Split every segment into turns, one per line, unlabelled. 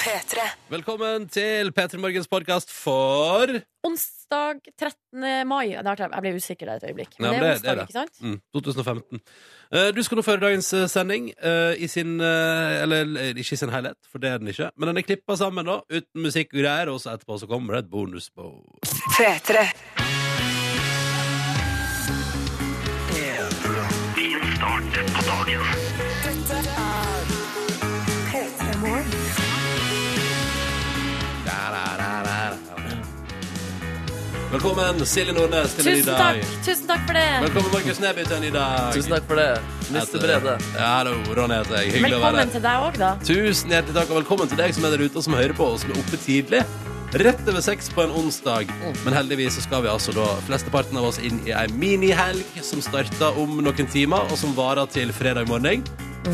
P3.
Velkommen til P3 Morgens podkast for
Onsdag 13. mai. Der, ble- jeg ble usikker der et øyeblikk. Men
Ja,
det er
men det- det er
onsdag,
det.
ikke sant?
mm, 2015. Eh, Du skal nå føre dagens eh, sending eh, i sin eh, Eller eh, ikke i sin helhet, for det er den ikke. Men den er klippa sammen, da, uten musikk og greier, og så etterpå så kommer det et bonusbåt.
P3.
Velkommen, Silje Nordnes, til en ny
Tusen takk,
dag.
tusen takk for det!
Velkommen, Markus Neby, til en ny dag.
Tusen takk for det, Mr. Brede.
Ja, hallo, Ronny heter jeg. Hyggelig å være
Velkommen
her.
til deg òg, da.
Tusen hjertelig takk, og velkommen til deg som er der ute og som hører på, og som er oppe tidlig. Rett over seks på en onsdag. Men heldigvis så skal vi altså da flesteparten av oss inn i ei minihelg som starter om noen timer, og som varer til fredag morgen.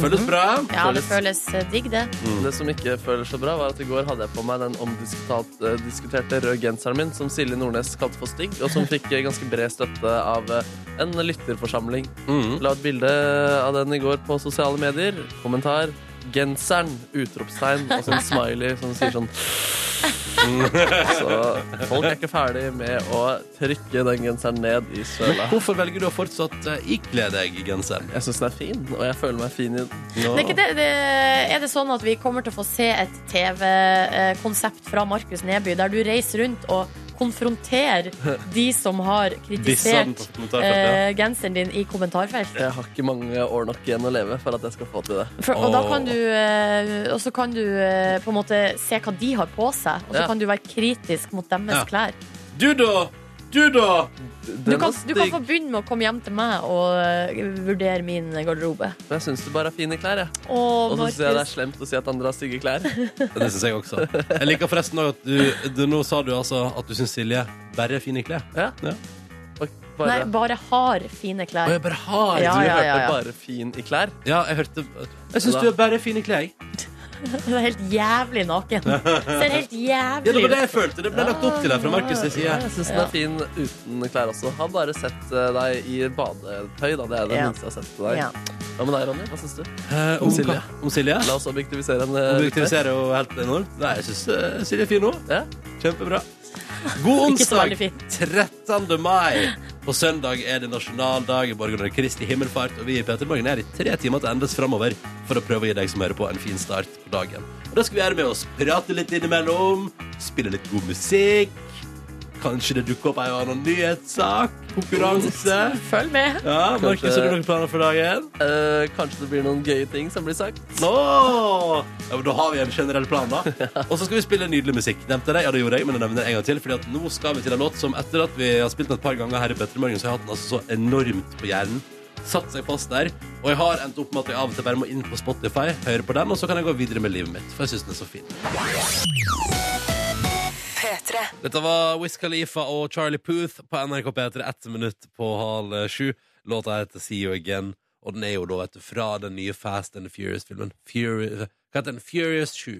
Føles bra.
Ja, det føles eh, digg, det.
Det som ikke føles så bra, var at i går hadde jeg på meg den omdiskutert- eh, diskuterte røde genseren min, som Silje Nordnes kalte for stygg, og som fikk eh, ganske bred støtte av eh, en lytterforsamling.
Mhm.
La et bilde av den i går på sosiale medier. Kommentar. Genseren! Utropstegn og sånn smiley som sier sånn Så folk er ikke ferdig med å trykke den genseren ned i søla.
Hvorfor velger du å fortsatt eh, ikle deg genseren?
Jeg syns den er fin, og jeg føler meg fin i den.
Det er, ikke det, det. er det sånn at vi kommer til å få se et TV-konsept fra Markus Neby, der du reiser rundt og konfronterer de som har
Disse den på
kritisert
kommentarfeltet.
eh, genseren din i kommentarfelt?
Jeg har ikke mange år nok igjen å leve for at jeg skal få til det.
For, og da
Åh.
kan du, eh, og så kan du eh, på en måte se hva de har på seg, og så
Ja.
kan du være kritisk mot deres
Ja.
klær.
Du, da! Du, da!
Du kan,
Den var
du kan
stygg.
få begynne med å komme hjem til meg og eh, vurdere min garderobe.
Men jeg syns du bare har fine klær, jeg.
Å,
Og så syns jeg det er
Markus.
slemt å si at andre har stygge klær.
Det syns jeg også. Jeg liker forresten også at du, du Nå sa du altså at du syns Silje bare er fin i klær.
Ja.
Ja.
Og
Nei,
bare,
bare har fine
Og
klær.
jeg bare har
Ja,
du
ja,
hørte
ja, ja.
bare fin i klær.
Ja, jeg hørte Jeg syns
Ja.
du er bare fin i klær.
Du er helt jævlig naken. Ser helt
Ja, det
jævlig
var det
ut.
jeg følte. Det ble lagt opp til deg fra Markus' side.
Ja, jeg syns den
Ja.
er fin uten klær også. Har bare sett eh, deg i badetøy, da. Det er det
Ja.
minste jeg har sett på deg.
Ja.
Hva med deg, Ronny? Hva syns du?
Eh, om,
Om Silje.
Silje. Om Silje?
La oss objektivisere en eh,
Objektiviserer jo helt enormt. Nei, jeg syns Silje er fin nå.
Ja.
Kjempebra. God
Ikke så
onsdag,
veldig fin.
13. mai. På søndag er det nasjonaldag i Borgen og Kristi himmelfart, og vi i Peter Morgen er i tre timer til endes framover for å prøve å gi deg som hører på, en fin start på dagen. Og da skal vi gjøre med oss prate litt innimellom, spille litt god musikk, kanskje det dukker opp ei og annen nyhetssak, konkurranse.
Følg med.
Ja, Markus, har du noen planer for dagen?
Eh, kanskje det blir noen gøye ting som blir sagt.
Nå! Ja, men da har vi en generell plan, da. Og så skal vi spille nydelig musikk. Nevnte jeg det? Ja, det gjorde jeg, men jeg nevner det en gang til. Fordi at nå skal vi til en låt som etter at vi har spilt den et par ganger her i Petter Morgen, så har jeg hatt den altså så enormt på hjernen. Satt seg fast der. Og jeg har endt opp med at jeg av og til bare må inn på Spotify, høre på den, og så kan jeg gå videre med livet mitt. For jeg syns den er så fin.
P3.
Dette var Wiz Khalifa og Charlie Puth på NRK P3 ett minutt på halv eh, sju. Låta heter See You Again, og den er jo da vet du, fra den nye Fast and Furious-filmen. Furious, hva heter den? Furious 7.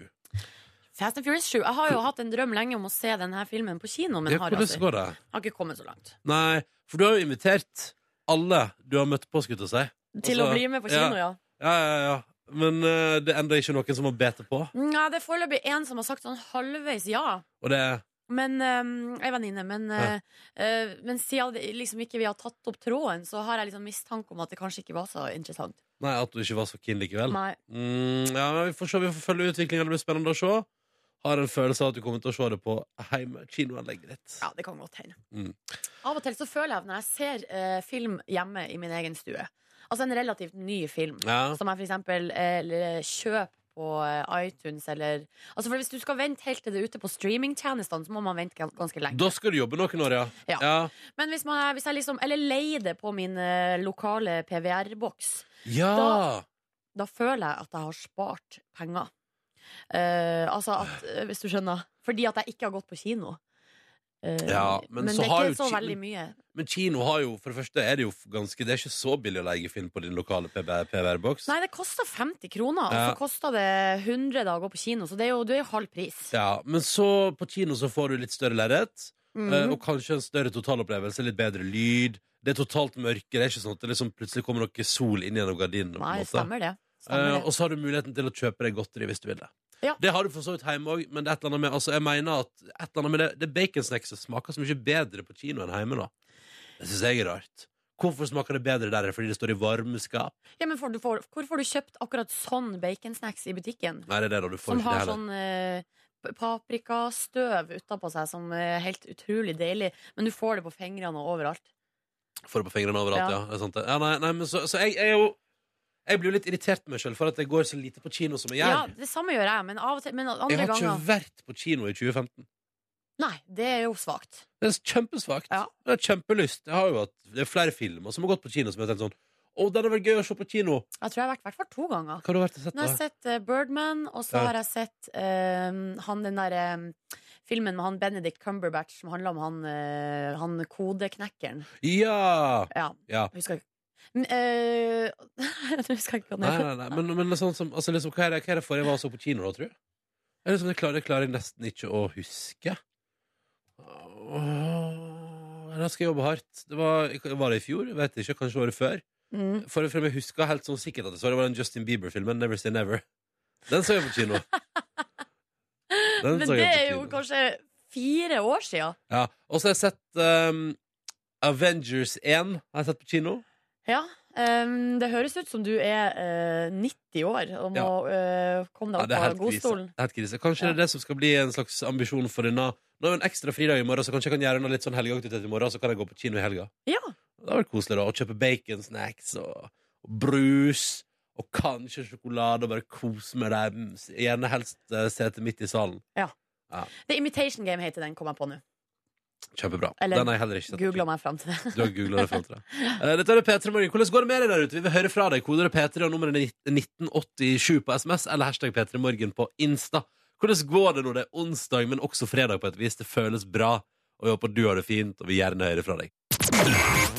Fast and Furious 7. Jeg har jo hatt en drøm lenge om å se denne filmen på kino, men
Ja,
har,
hvordan
altså,
går det?
har ikke kommet så langt.
Nei, for du har jo invitert alle du har møtt på, skulle jeg til å si.
Til
Altså,
å bli med på
ja.
kino, ja.
Ja, ja, ja. Men eh, det er enda ikke noen som har bedt på.
Nei, det er foreløpig én som har sagt sånn halvveis ja.
Og det er
Men um, Jeg er venninne, men,
Ja.
eh, eh, men siden det, liksom ikke vi har tatt opp tråden, så har jeg liksom mistanke om at det kanskje ikke var så interessant.
Nei, at du ikke var så keen likevel.
Nei.
Mm, ja, men Vi får se, vi får følge utviklingen. Det blir spennende å se. Har en følelse av at du kommer til å se det på hjemme, kinoanlegget ditt.
Ja, det kan godt hende.
Mm.
Av og til så føler jeg at når jeg ser eh, film hjemme i min egen stue, altså en relativt ny film,
Ja.
som jeg for eksempel eh, l- kjøper på eh, iTunes eller Altså for Hvis du skal vente helt til det er ute på streamingtjenestene, så må man vente gans- ganske lenge.
Da skal du jobbe noen år, ja.
Ja. Men hvis, man, hvis jeg liksom Eller leier det på min eh, lokale PVR-boks.
Ja.
Da- da føler jeg at jeg har spart penger. Eh, altså at, eh, hvis du skjønner. Fordi at jeg ikke har gått på kino. Eh,
Ja, men så
det er
har
ikke
jo
så
ki-
veldig mye.
Men kino har jo For det første er det jo ganske Det er ikke så billig å leie film på din lokale PVR-boks.
Nei, det koster 50 kroner, og
Ja.
så koster det 100 da å gå på kino. Så det er jo, du er jo halv pris.
Ja, men så på kino så får du litt større lerret.
Mm.
Eh, Og kanskje en større totalopplevelse, litt bedre lyd. Det er totalt mørke. Det er ikke sånn at det liksom plutselig kommer noe sol inn gjennom gardinene. på en
Nei,
måte.
stemmer det. Stemmer det.
Eh, og så har du muligheten til å kjøpe deg godteri hvis du vil det.
Ja.
Det har du for så vidt hjemme òg, men det er et eller annet med, altså, jeg mener at et eller annet med det, det er baconsnacks som smaker så mye bedre på kino enn hjemme. Da. Det syns jeg er rart. Hvorfor smaker det bedre der? Fordi det står i varmeskap?
Ja, men får du, får, hvor får du kjøpt akkurat sånn baconsnacks i butikken?
Nei, det er det da du får ikke
Som
det
har
heller.
sånn eh, p- paprikastøv utapå seg som er helt utrolig deilig. Men du får det på fingrene og overalt.
Får det på fingrene overalt, ja.
Ja.
det er sant det. ja nei, nei, men så, så jeg, jeg er jo Jeg blir jo litt irritert på meg sjøl for at jeg går så lite på kino som jeg
Ja,
gjør.
Det samme gjør jeg, men av og til Men
jeg
andre
har ikke
ganger
vært på kino i 2015.
Nei, det er jo svakt.
Det er kjempesvakt.
Ja.
Jeg har kjempelyst. Jeg har jo hatt, det er flere filmer som har gått på kino som jeg har tenkt sånn Å, den hadde vært gøy å se på kino!
Jeg tror jeg har vært i hvert fall to ganger.
Hva har du vært og sett?
Nå har
da?
jeg sett eh, Birdman, og så
Ja.
har jeg sett eh, han den derre filmen med han Benedict Cumberbatch som handler om han, eh, han kodeknekkeren.
Ja!
Ja.
Ja.
Jeg husker ikke. Men, eh, jeg husker ikke hva den
Nei,
heter.
nei, nei. Men, men det er sånn som, altså, liksom, hva, er det, hva er det forrige jeg var og så på kino, da, tror du? Det, er liksom, det, klarer, det klarer jeg nesten ikke å huske. Åh, Da skal jeg jobbe hardt. Det var, var det i fjor? Jeg vet ikke. Kanskje året før?
Mm.
Forrige film jeg husker helt sånn sikkert at jeg så, det var den Justin Bieber-filmen Never Say Never. Den så jeg på kino. Den
Men
så jeg
det
på
er jo
kino.
kanskje fire år sia.
Ja. Og så har jeg sett um, Avengers 1 har jeg sett på kino.
Ja. em, Ehm, det høres ut som du er eh, 90 år og må eh, komme
Ja,
deg
det er helt
opp av
krise.
godstolen.
Det er helt krise. Kanskje det er det som skal bli en slags ambisjon for denne. Nå er det en ekstra fridag i morgen, så kanskje jeg kan gjøre noe litt sånn helgeaktivitet i morgen, så kan jeg gå på kino i helga.
Ja.
Det hadde vært koselig, da. Å kjøpe baconsnacks og, og brus. Og kanskje sjokolade, og bare kose meg der. Mm, Gjerne helst eh, sete midt i salen.
The Imitation Game heter den, kom jeg på nå.
Kjempebra.
Eller
Den har jeg heller ikke sett. på kino.
Googla meg fram til det.
Du har googlet det frem til det. Eh, Dette er P3 Morgen. Hvordan går det med deg der ute? Vi vil høre fra deg. Koder det P3 og nummeret er 1987 på SMS eller hashtag P3 Morgen på Insta. Hvordan går det når det er onsdag, men også fredag på et vis? Det føles bra. Og vi håper du har det fint, og vil gjerne høre fra deg.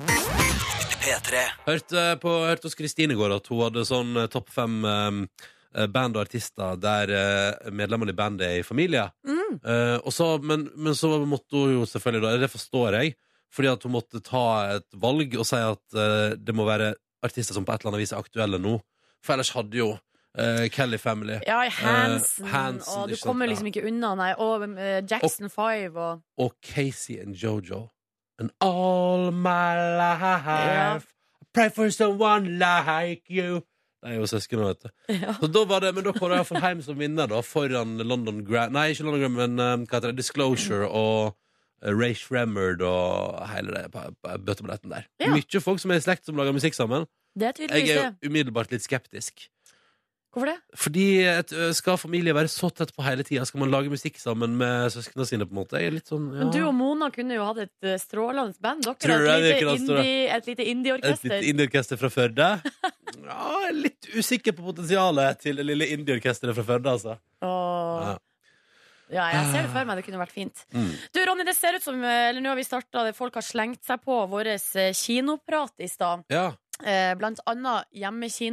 Hørte på hørte hos Kristine i går at hun hadde sånn eh, topp fem eh, band og artister der eh, medlemmene i bandet er i familie.
Mm.
Eh, og så, men, men så måtte hun jo selvfølgelig da, Det forstår jeg, fordi at hun måtte ta et valg og si at eh, det må være artister som på et eller annet vis er aktuelle nå. For ellers hadde jo eh, Kelly Family
Ja, i Hansen,
Hansen,
og
ikke
du
sant,
kommer
ja.
liksom ikke unna, nei. Og eh, Jackson Five og
og Casey and Jojo. And all my life
Ja.
I pray for someone like you. De er jo søsken, vet du.
ja.
Så da var det, men da kom jeg iallfall hjem som vinner, da, foran London Grand Nei, ikke London Grand, men eh, hva heter det? Disclosure og eh, Ray Shremmerd og hele det pa- pa- bøtteballetten der.
Ja.
Mye folk som er i slekt, som lager musikk sammen.
Det er
Jeg
tydeligvis
er
det.
jo umiddelbart litt skeptisk.
Hvorfor det?
Fordi et, ø, skal familie være så tett på hele tida? Skal man lage musikk sammen med søsknene sine, på en måte? Jeg er litt sånn ja.
Men du og Mona kunne jo hatt et eh, strålende band.
Tror
Dere
jeg
er
det
et
kunne
lite
hatt strålende-
indie- et lite
Et
indieorkester.
lite indieorkester fra Førde. Ja, jeg er litt usikker på potensialet til det lille indieorkesteret fra Førde, altså.
Åh.
Ja.
Ja, jeg ser det for meg. Det kunne vært fint.
Mm.
Du, Ronny, det ser ut som eh, eller nå har vi startet, folk har slengt seg på vår eh, kinoprat i stad.
Ja.
Eh, Blant annet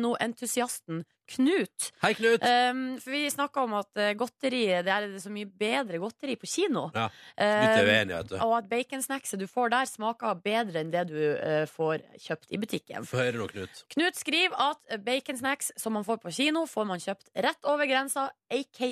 hjemmekinoentusiasten Knut.
Hei, Knut.
Um, for vi snakka om at eh, godteri Det er det så mye bedre godteri på kino.
Ja, Knut er
Um,
uenig, vet du.
og at baconsnackset du får der, smaker bedre enn det du eh, får kjøpt i butikken.
Få høre nå, Knut.
Knut skriver at baconsnacks som man får på kino, får man kjøpt rett over grensa, aka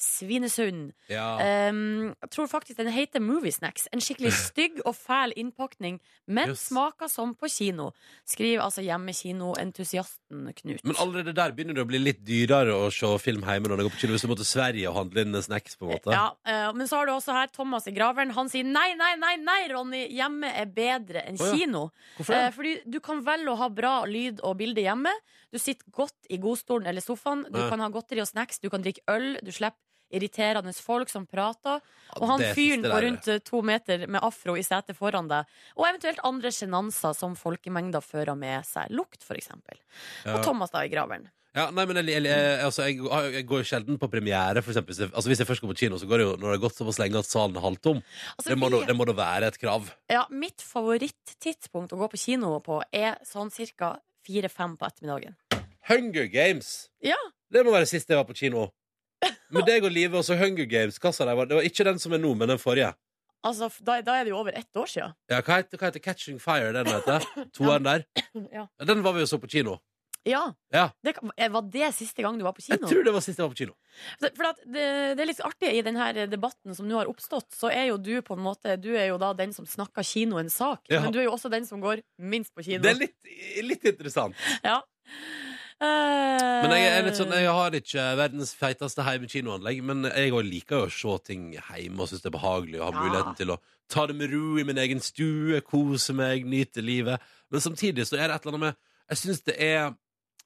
Svinesund.
Ja.
Um, jeg tror faktisk den heter Moviesnacks. En skikkelig stygg og fæl innpakning, men
Jøss.
smaker som på kino. Skriver altså hjemmekinoentusiasten Knut.
Men allerede der begynner det å bli litt dyrere å se film hjemme når det går på kino. Hvis du må til Sverige og handle inn snacks, på en måte.
ja, eh, men så har du også her Thomas i Graveren. Han sier nei, nei, nei, nei, Ronny. Hjemme er bedre enn
Å ja.
kino.
Hvorfor det?
Eh, fordi du kan velge å ha bra lyd og bilde hjemme. Du sitter godt i godstolen eller sofaen. Du
Ja.
kan ha godteri og snacks, du kan drikke øl, du slipper irriterende folk som prater. Og han
det siste
fyren på
der.
rundt eh, to meter med afro i setet foran deg. Og eventuelt andre sjenanser som folkemengder fører med seg. Lukt, for eksempel.
Ja.
Og Thomas da i graveren.
Ja, nei, men jeg, jeg, jeg, altså, jeg, jeg går jo sjelden på premiere, for eksempel. Hvis jeg- Altså, hvis jeg først går på kino, så går det jo når det har gått såpass lenge at salen er halvtom.
Altså,
Det må da
vi-
det må da være et krav.
Ja, mitt favorittidspunkt å gå på kino på er sånn cirka fire-fem på ettermiddagen.
Hunger Games!
Ja.
Det må være sist jeg var på kino. Med deg og Live og så Hunger Games. Hva sa de? var- Det var ikke den som er nå, men den forrige.
Altså, f- da, da er det jo over ett år sia.
Ja, hva heter, hva heter Catching Fire? Den heter Toeren der.
Ja.
Ja, Den var vi jo så på kino.
Ja.
Ja.
Det, kan- eh, var det siste gang du var på
Jeg
kino?
tror det var sist jeg var på kino.
For at det, det er litt artig i denne debatten som nå har oppstått, så er jo du på en måte Du er jo da den som snakker kinoens sak,
Ja.
men du er jo også den som går minst på kino.
Det er litt, litt interessant.
Ja. Eh,
Men jeg er litt sånn, jeg har ikke verdens feiteste heimekinoanlegg, men jeg også liker jo å se ting hjemme og syns det er behagelig å ha
Ja.
muligheten til å ta det med ro i min egen stue, kose meg, nyte livet. Men samtidig så er det et eller annet med Jeg syns det er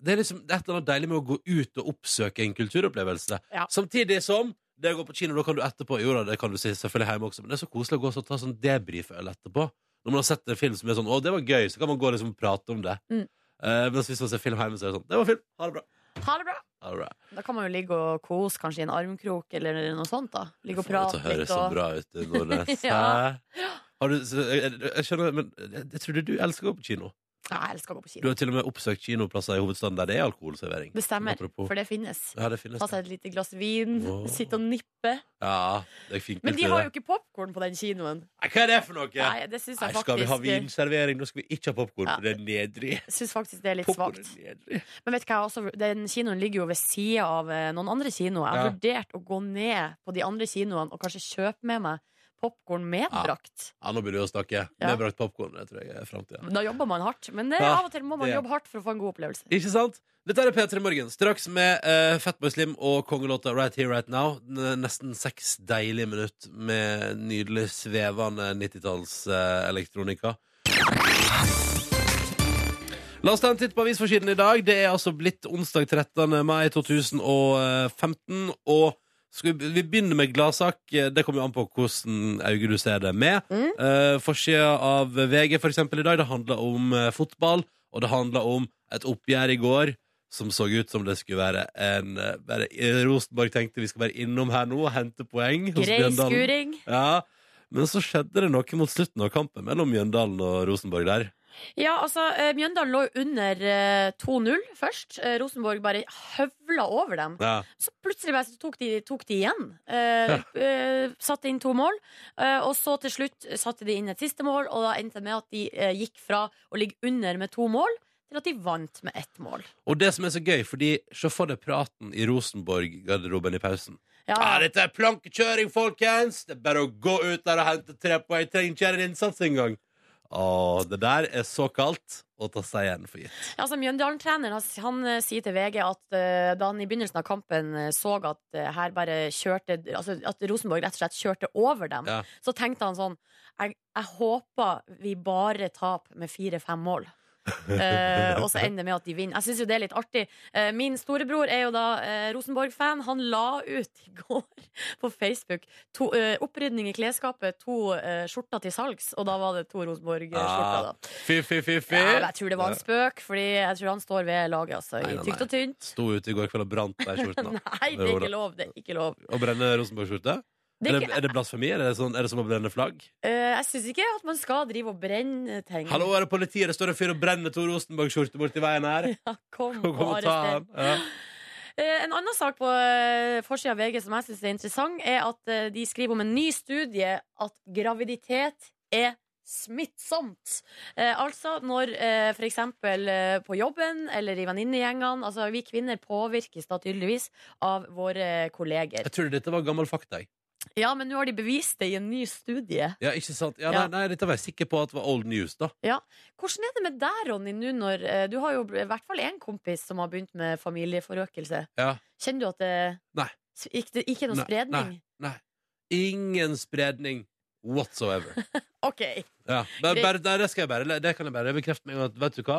det er liksom det er et eller annet deilig med å gå ut og oppsøke en kulturopplevelse.
Ja.
Samtidig som det å gå på kino, da kan du etterpå Jo da, det kan du si selvfølgelig hjemme også, men det er så koselig å gå og så ta sånn debrief-øl etterpå. Når man har sett en film som er sånn 'Å, det var gøy', så kan man gå og liksom prate om det.
Mm.
Eh, mens hvis man ser film hjemme, så er det sånn 'Det var film. Ha det bra'.
Ha det bra!
Ha det bra.
Da kan man jo ligge og kose, kanskje i en armkrok eller noe sånt. da Ligge og
Prate det
prate
høres
litt.
så
Og...
bra ut, Nordnes.
Ja.
Hæ? Har du, så, jeg, jeg skjønner, men jeg, jeg trodde du elsker å gå på kino.
Ja, jeg elsker å gå på
Du
kino.
har til og med oppsøkt kinoplasser i hovedstaden der det er alkoholservering.
Det stemmer,
Apropos.
for det finnes.
Ja, det finnes
Ta
det.
seg et lite glass vin,
Wow.
sitte og nippe.
Ja, det er fint
Men de
kultur,
har
det.
jo ikke popkorn på den kinoen.
Nei, Hva er det for noe?
Nei, det syns jeg
Nei, skal vi ha
faktisk, eh,
vinservering? Nå skal vi ikke ha popkorn,
Ja.
for det er nedrig.
syns faktisk det er litt
Popcorn er
svakt.
nedrig.
Men vet du hva, jeg også, den kinoen ligger jo ved sida av eh, noen andre kinoer. Jeg har vurdert å gå ned på de andre kinoene og kanskje kjøpe med meg popkorn
Ja.
medbrakt.
Ja, nå begynner vi å snakke.
Ja.
Medbrakt popkorn, det tror jeg er framtida.
Da jobber man hardt. Men det,
Ja,
av og til må man
det-
jobbe hardt for å få en god opplevelse.
Ikke sant? Dette er P3 Morgen, straks med eh, Fatboy Slim og kongelåta Right Here Right Now. Den er Nesten seks deilige minutt med nydelig svevende eh, 90-tallselektronika. La oss ta en titt på avisforsiden i dag. Det er altså blitt onsdag 13. mai 2015. Og skal vi, vi begynner med gladsak. Det kommer jo an på hvordan øye du ser det med. Mm. Forsida av VG for eksempel i dag, det handler om eh, fotball. Og det handler om et oppgjør i går som så ut som det skulle være en eh, bare, Rosenborg tenkte vi skal være innom her nå og hente poeng. hos
Grei
Mjøndalen.
skuring.
Ja, men så skjedde det noe mot slutten av kampen mellom Mjøndalen og Rosenborg der.
Ja, altså, eh, Mjøndalen lå jo under eh, 2-0 først. Eh, Rosenborg bare høvla over dem.
Ja.
Så plutselig bare så tok de, tok de igjen. Eh, eh, satte inn to mål. Eh, og så til slutt satte de inn et siste mål, og da endte det med at de eh, gikk fra å ligge under med to mål, til at de vant med ett mål.
Og det som er så gøy, fordi se for deg praten i Rosenborg-garderoben i pausen.
Ja,
Ja, dette er plankekjøring, folkens! Det er bare å gå ut der og hente tre poeng. Jeg Trenger ikke gjøre en innsats engang. Å, det der er så kaldt å ta seieren for gitt.
altså Mjøndalen-treneren han, han eh, sier til VG at eh, da han i begynnelsen av kampen eh, så at eh, her bare kjørte Altså at Rosenborg rett og slett kjørte over dem,
Ja.
så tenkte han sånn Jeg, jeg håper vi bare taper med fire-fem mål. Eh, og så ender det med at de vinner. Jeg syns jo det er litt artig. Eh, min storebror er jo da eh, Rosenborg-fan. Han la ut i går på Facebook to, eh, opprydning i klesskapet, to eh, skjorter til salgs, og da var det to Rosenborg-skjorter. da
Ah. Fy, fy, fy, fy.
ja, men jeg tror det var en spøk, Fordi jeg tror han står ved laget, altså.
Nei,
I
nei,
tykt og tynt.
Sto ute i går kveld og brant der skjorten. da.
Nei, det er ikke lov. Det er ikke lov.
Å brenne Rosenborg-skjorte?
Det
Er,
er
det-
ikke,
er det blasfemi? Er det, sånn, er det som å brenne flagg?
eh, jeg syns ikke at man skal drive og brenne ting.
Hallo, er det politiet? Det står en fyr og brenner to Rosenborg-skjorter borti veien her.
Ja, kom
Kom
og
og ta
arrester.
han. Ja.
Eh, En annen sak på eh, forsida av VG som jeg syns er interessant, er at eh, de skriver om en ny studie at graviditet er smittsomt. Eh, altså når eh, for eksempel eh, på jobben eller i venninnegjengene Altså vi kvinner påvirkes da tydeligvis av våre kolleger.
Jeg tror dette var gammel fakta. jeg.
Ja, men nå har de bevist det i en ny studie.
Ja, ikke sant? Ja, nei,
Ja.
nei, dette var jeg sikker på at var old news, da.
Hvordan er det med deg, Ronny, nå når eh, Du har jo i hvert fall én kompis som har begynt med familieforøkelse.
Ja.
Kjenner du at det
Nei.
Ikke, det- ikke noe
Nei,
spredning?
Nei. Ingen spredning whatsoever.
OK.
Ja. Bare,
Greit.
bare, nei, det, skal jeg bare, det kan jeg bare bekrefte med en gang. at, Vet du hva?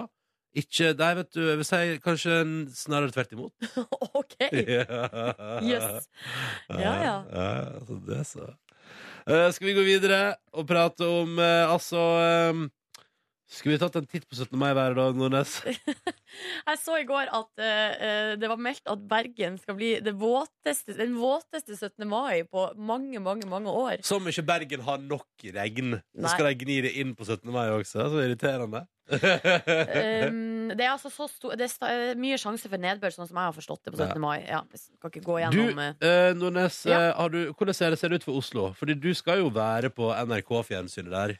Ikke Nei, vet du, jeg vil si kanskje en- snarere tvert imot.
OK. Jøss. Ja, ja.
så det, så. Eh, skal vi gå videre og prate om eh, Altså eh, Skulle vi tatt en titt på 17. mai hver dag, Nordnes?
Jeg så i går at eh, eh, det var meldt at Bergen skal bli det våteste, den våteste 17. mai på mange, mange mange år.
Som ikke Bergen har nok regn. Så
Nei.
skal de gni det inn på 17. mai også. Så irriterende.
Um, det er altså så stor, det er sta- eh, mye sjanse for nedbør, sånn som jeg har forstått det på 17. mai. Ja, jeg skal ikke gå
Du,
gjennom eh,
eh, Nordnes,
Ja.
eh, har du, hvordan ser det ser det ut for Oslo? Fordi du skal jo være på NRK-fjernsynet der.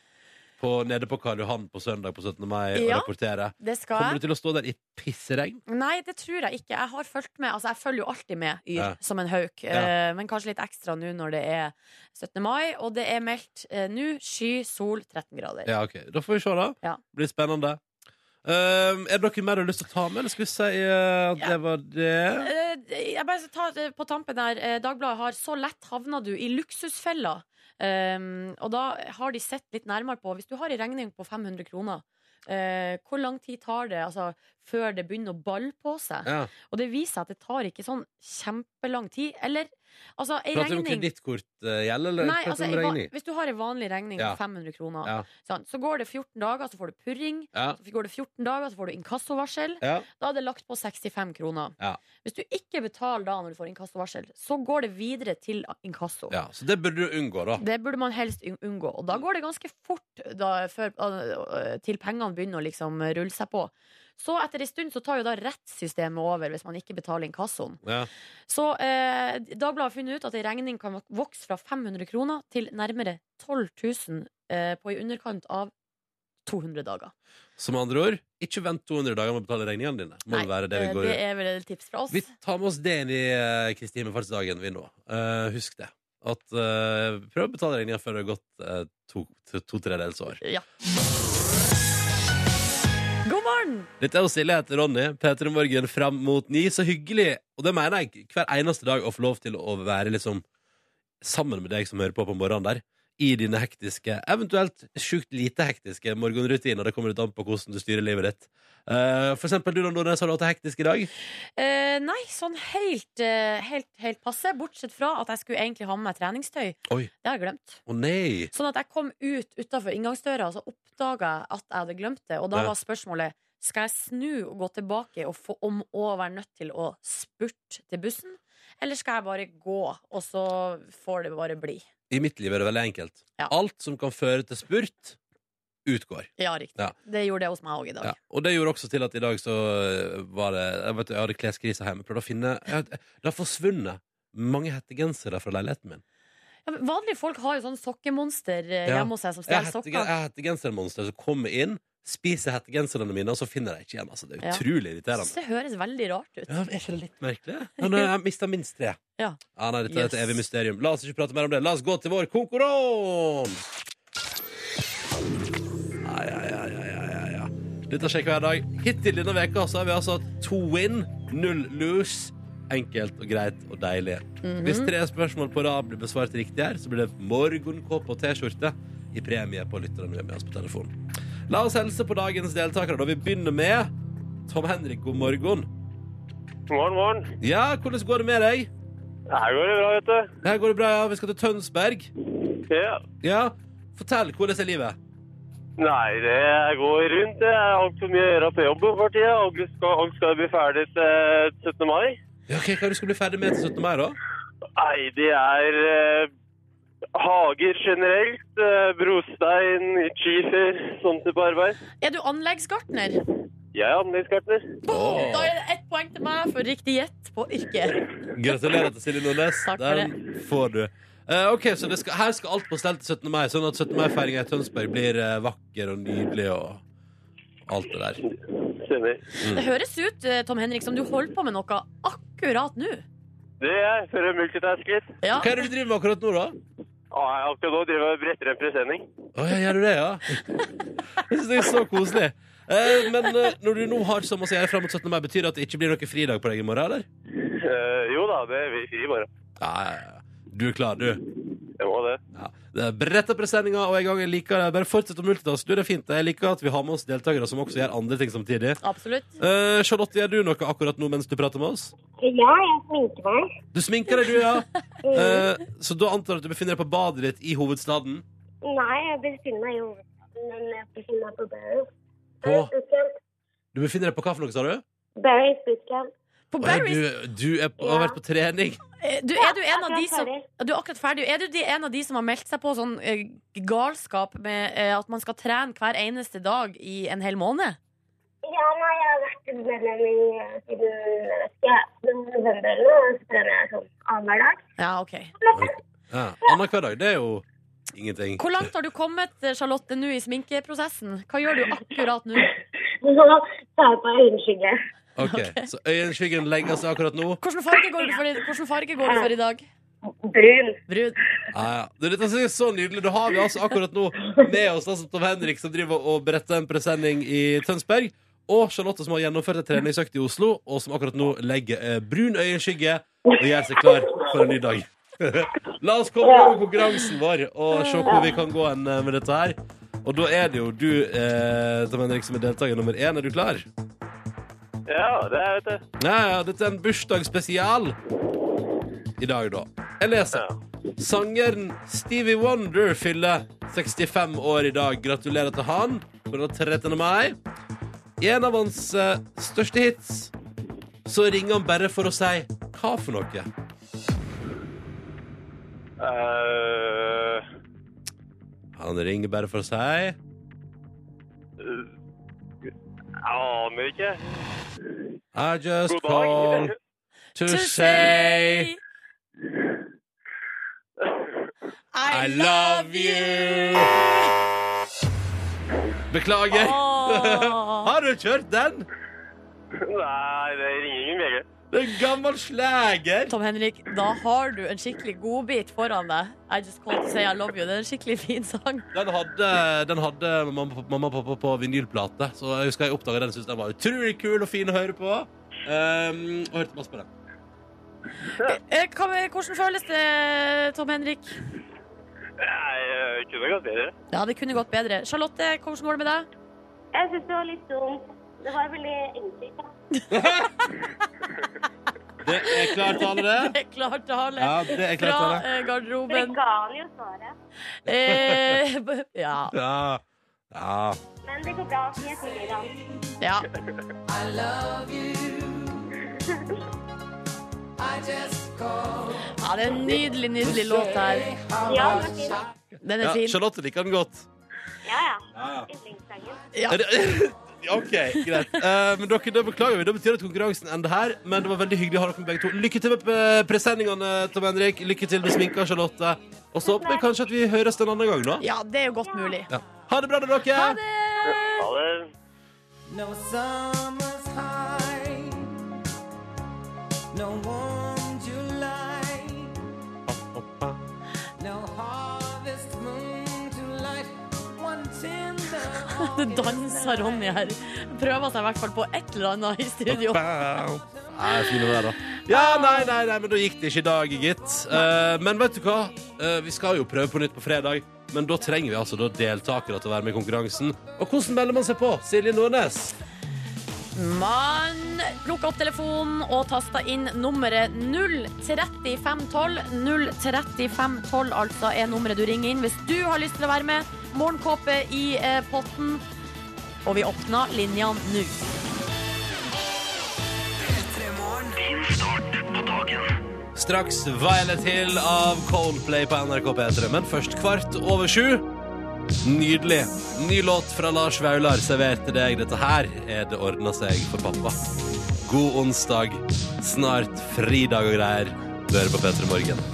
på, nede på Karl Johan på søndag på 17. mai
Ja.
og rapportere.
Det skal jeg.
Kommer du til å stå der i pissregn?
Nei, det tror jeg ikke. Jeg har fulgt med. Altså, jeg følger jo alltid med Yr
Ja.
som en hauk, eh, men kanskje litt ekstra nå når det er 17. mai. Og det er meldt eh, nå sky, sol, 13 grader.
Ja, ok. Da får vi se, da.
Ja.
Det blir spennende. Um, er det noe mer du har lyst til å ta med, eller skal vi si eh, at
Ja.
det var det?
Eh, Jeg bare skal ta eh, på tampen der eh, Dagbladet har så lett havna du i luksusfella. Um, og da har de sett litt nærmere på Hvis du har en regning på 500 kroner, eh, hvor lang tid tar det altså, før det begynner å balle på seg?
Ja.
Og det viser seg at det tar ikke sånn kjempelang tid. Eller altså, ei
Prater du om
regning
kredittkortgjeld, eller
Nei,
prater
altså,
du
ei
om
va-
regning?
hvis du har en vanlig regning
Ja.
på 500 kroner,
Ja.
sant, så går det 14 dager, så får du purring.
Ja.
Så går det 14 dager, så får du inkassovarsel.
Ja.
Da er det lagt på 65 kroner.
Ja.
Hvis du ikke betaler da når du får inkassovarsel, så går det videre til inkasso.
ja. Så det burde du unngå, da.
Det burde man helst un- unngå. Og da går det ganske fort da, før, øh, til pengene begynner å liksom rulle seg på. Så etter en stund så tar jo da rettssystemet over hvis man ikke betaler inkassoen.
Ja.
Så eh, Dagbladet har funnet ut at en regning kan vokse fra 500 kroner til nærmere 12 000 eh, på i underkant av 200 dager.
Som andre ord, ikke vent 200 dager med å betale regningene dine. Må
Nei,
være det vi
eh,
går
det
ut.
er vel et tips fra oss.
Vi tar med oss det inn i eh, Kristi himmelfartsdagen vi nå. Eh, husk det. At, eh, prøv å betale regninga før det har gått eh, to, to, to tredels år.
Ja. God morgen!
Dette er jo Silje, jeg heter Ronny. P3 Morgen fram mot ni. Så hyggelig, og det mener jeg, hver eneste dag å få lov til å være liksom sammen med deg som hører på på morgenen der. I dine hektiske, eventuelt sjukt lite hektiske morgenrutiner. Det kommer litt an på hvordan du styrer livet ditt. Eh, for eksempel du, Nordnes, har du hatt det hektisk i dag?
Eh, nei, sånn helt, eh, helt, helt passe. Bortsett fra at jeg skulle egentlig ha med meg treningstøy.
Oi.
Det har jeg glemt.
Å nei!
Sånn at jeg kom ut utafor inngangsdøra, og så oppdaga jeg at jeg hadde glemt det. Og da
Ja.
var spørsmålet skal jeg snu og gå tilbake og få om å være nødt til å spurte til bussen, eller skal jeg bare gå, og så får det bare bli.
I mitt liv er det veldig enkelt.
Ja.
Alt som kan føre til spurt, utgår.
Ja, riktig.
Ja.
Det gjorde det hos meg òg i dag.
Ja. Og det gjorde også til at i dag så øh, var det Jeg, vet, jeg hadde kleskrise hjemme. Prøvde å finne jeg, hadde- Det har forsvunnet mange hettegensere fra leiligheten min.
Ja, men vanlige folk har jo sånn sokkemonster eh,
Ja.
hjemme hos seg som
Jeg er
stjeler
hettegen- jeg
sokker.
er hettegensermonster som kommer inn, spiser hettegenserne mine, og så finner jeg ikke igjen. Altså, det er
Ja.
utrolig
Så
irriterende.
det høres veldig rart ut.
Ja, er ikke det litt merkelig? Ja, nei, jeg mista minst tre.
Ja.
nei, dette er et
Yes.
evig mysterium. La oss ikke prate mer om det. La oss gå til vår konkurranse! Ja, ja, ja, ja, ja, ja, ja. Dette skjer hver dag. Hittil denne veka så har vi altså hatt to win, null lose. Enkelt og greit og deilig. Hvis tre spørsmål på rad blir besvart riktig her, så blir det morgenkåpe og T-skjorte i premie på lytterne vi har med oss på telefon. La oss helse på dagens deltakere, da vi begynner med Tom Henrik, god morgen.
Morgen, morgen.
Ja, hvordan går det med deg?
Her går det bra, vet du.
Her går det bra, ja. Vi skal til Tønsberg.
Ja.
Ja, Fortell, hvordan er livet?
Nei, det går rundt. Jeg har altfor mye å gjøre på jobb for tida. Og skal, og skal bli ferdig til 17. mai.
Ja, ok, Hva er det du skal bli ferdig med til 17. mai, da?
Nei, det er eh, hager generelt. Eh, brostein, skifer, sånn type arbeid.
Er du anleggsgartner?
Jeg er anleggsgartner.
Åh.
Da er det ett poeng til meg for riktig gjett på yrket.
Gratulerer til Silje Nordnes.
Takk for
Den får du. Eh, ok, så det skal, Her skal alt på stell til 17. mai, sånn at 17. mai-feiringa i Tønsberg blir eh, vakker og nydelig og alt det der.
Stemmer.
Det høres ut eh, Tom Henrik, som du holder på med noe akkurat nå.
Det er jeg. For å multitaske litt.
Ja.
Hva er det du driver med akkurat nå, da?
Ah, jeg akkurat nå driver jeg og bretter en presenning.
Å, ja, gjør du det, ja? Jeg synes det er så koselig. Eh, men eh, når du nå har så masse å gjøre fram mot 17. mai, betyr det at det ikke blir noen fridag på deg i morgen, eller?
Eh, jo da, det blir fri i morgen.
Ja, ja, ja. Du er klar, du.
Jeg må det.
Ja. Det er Brett opp presenninga, og jeg gang jeg liker det. Bare fortsett å multitaske. Du, det er fint. Jeg liker at vi har med oss deltakere som også gjør andre ting samtidig.
Absolutt.
Eh, Charlotte, gjør du noe akkurat nå mens du prater med oss?
Ja, jeg Mm. sminker meg.
Du sminker deg, du, ja. Eh, så da antar jeg at du befinner deg på badet ditt i hovedstaden?
Nei, jeg befinner meg i hovedstaden, men jeg befinner meg på Barry's.
På,
Barry's Bootcamp.
du befinner deg på hva for noe, sa du?
Barry's Bootcamp.
På
Å, ja,
Barry's
du du er, på- har vært på trening?
eh, du, er, du en av
akkurat
de som,
ferdig.
du er akkurat ferdig. Er du de, en av de som har meldt seg på sånn eh, galskap med eh, at man skal trene hver eneste dag i en hel måned?
Ja, nei, jeg har vært medlem i eh, siden jeg vet ikke, siden november eller noe, og så trener jeg sånn annenhver dag.
Ja, OK.
Ja. Annenhver dag. Det er jo Ingenting.
Hvor langt har du kommet, eh, Charlotte, nå i sminkeprosessen? Hva gjør du akkurat nå?
Nå tar jeg på øyenskygge.
Ok, Så øyenskyggen legger seg akkurat nå.
Hvilken farge går du for i, hvilken farge går du for i dag?
Brun.
Brun.
Ja, ja. Du, Dette synes jeg er så nydelig. Da har vi altså akkurat nå med oss altså, Tom Henrik, som driver og beretter en presenning i Tønsberg. Og Charlotte, som har gjennomført en treningsøkt i Oslo, og som akkurat nå legger eh, brun øyenskygge og gjør seg klar for en ny dag. La oss komme over konkurransen vår og se hvor vi kan gå hen eh, med dette her. Og da er det jo du, eh, Tom Henrik, som er deltaker nummer én. Er du klar?
Ja, det er vet du.
Ja, ja, dette er en bursdagsspesial i dag, da. Jeg leser. Sangeren Stevie Wonder fyller 65 år i dag. Gratulerer til han på den 13. mai. I en av hans eh, største hits så ringer han bare for å si hva for noe.
Eh,
Han ringer bare for å si
jeg aner ikke.
I just
God
call
dag.
to say I love you. Beklager.
Åh.
Har du kjørt den?
Nei, det ringer ingen VG.
Det er en gammel slager.
Tom Henrik, da har du en skikkelig godbit foran deg. I just called to say I love you. Det er en skikkelig fin sang.
Den hadde, den hadde mamma, mamma og pappa på vinylplate, så jeg husker jeg oppdaga den. Synes den var utrolig kul og fin å høre på. Ehm, og hørte masse på den.
Eh, hva- Hvordan føles det, Tom Henrik?
Nei, jeg kunne gått bedre.
Ja, det kunne gått bedre. Charlotte, hvordan går det med deg?
Jeg syns det var litt dumt. Det var veldig enkelt. da.
Det er klart, alle det?
Det er klart tale.
Ja, det er klart,
Fra
alle.
eh,
Dere
garderoben.
ga han jo svaret.
Eh, b- ja.
Ja. ja.
Men det går bra. Vi er snille i dag.
ja. Ja, det er en nydelig, nydelig låt her.
Ja, den er fin.
Den
ja
er fin.
Charlotte liker den godt.
Ja, ja.
Ja,
Yndlingssangen.
Ja.
Er det- OK, greit. Eh, men dere, det beklager vi. Det betyr at konkurransen ender her. Men det var veldig hyggelig å ha dere med begge to. Lykke til med eh, presenningene, Tom Henrik. Lykke til med sminka, Charlotte. Og så håper vi kanskje at vi høres en annen gang, da.
ja, det er jo godt mulig.
Ja. Ha det bra, da, dere.
Ha det!
Ha det.
No summer's high, no warm July, no harvest moon to light one tender.
Det danser Ronny her. Prøver seg i hvert fall på et eller annet i studio.
Nei, fine der, da. Ja, nei, nei, nei, men da gikk det ikke i dag, gitt. Eh, men vet du hva? Eh, vi skal jo prøve på nytt på fredag. Men da trenger vi altså da deltakere til å være med i konkurransen. Og hvordan melder man seg på? Silje Nordnes.
Man plukker opp telefonen og taster inn nummeret 03512. 03512 altså er nummeret du ringer inn hvis du har lyst til å være med. Morgenkåpe i eh, potten. Og vi åpner linjene nå.
Straks Violet Hill av Coldplay på NRK P3. Men først kvart over sju. Nydelig. Ny låt fra Lars Vaular servert til deg. Dette her er Det ordna seg for pappa. God onsdag. Snart fridag og greier. Du hører på P3 Morgen.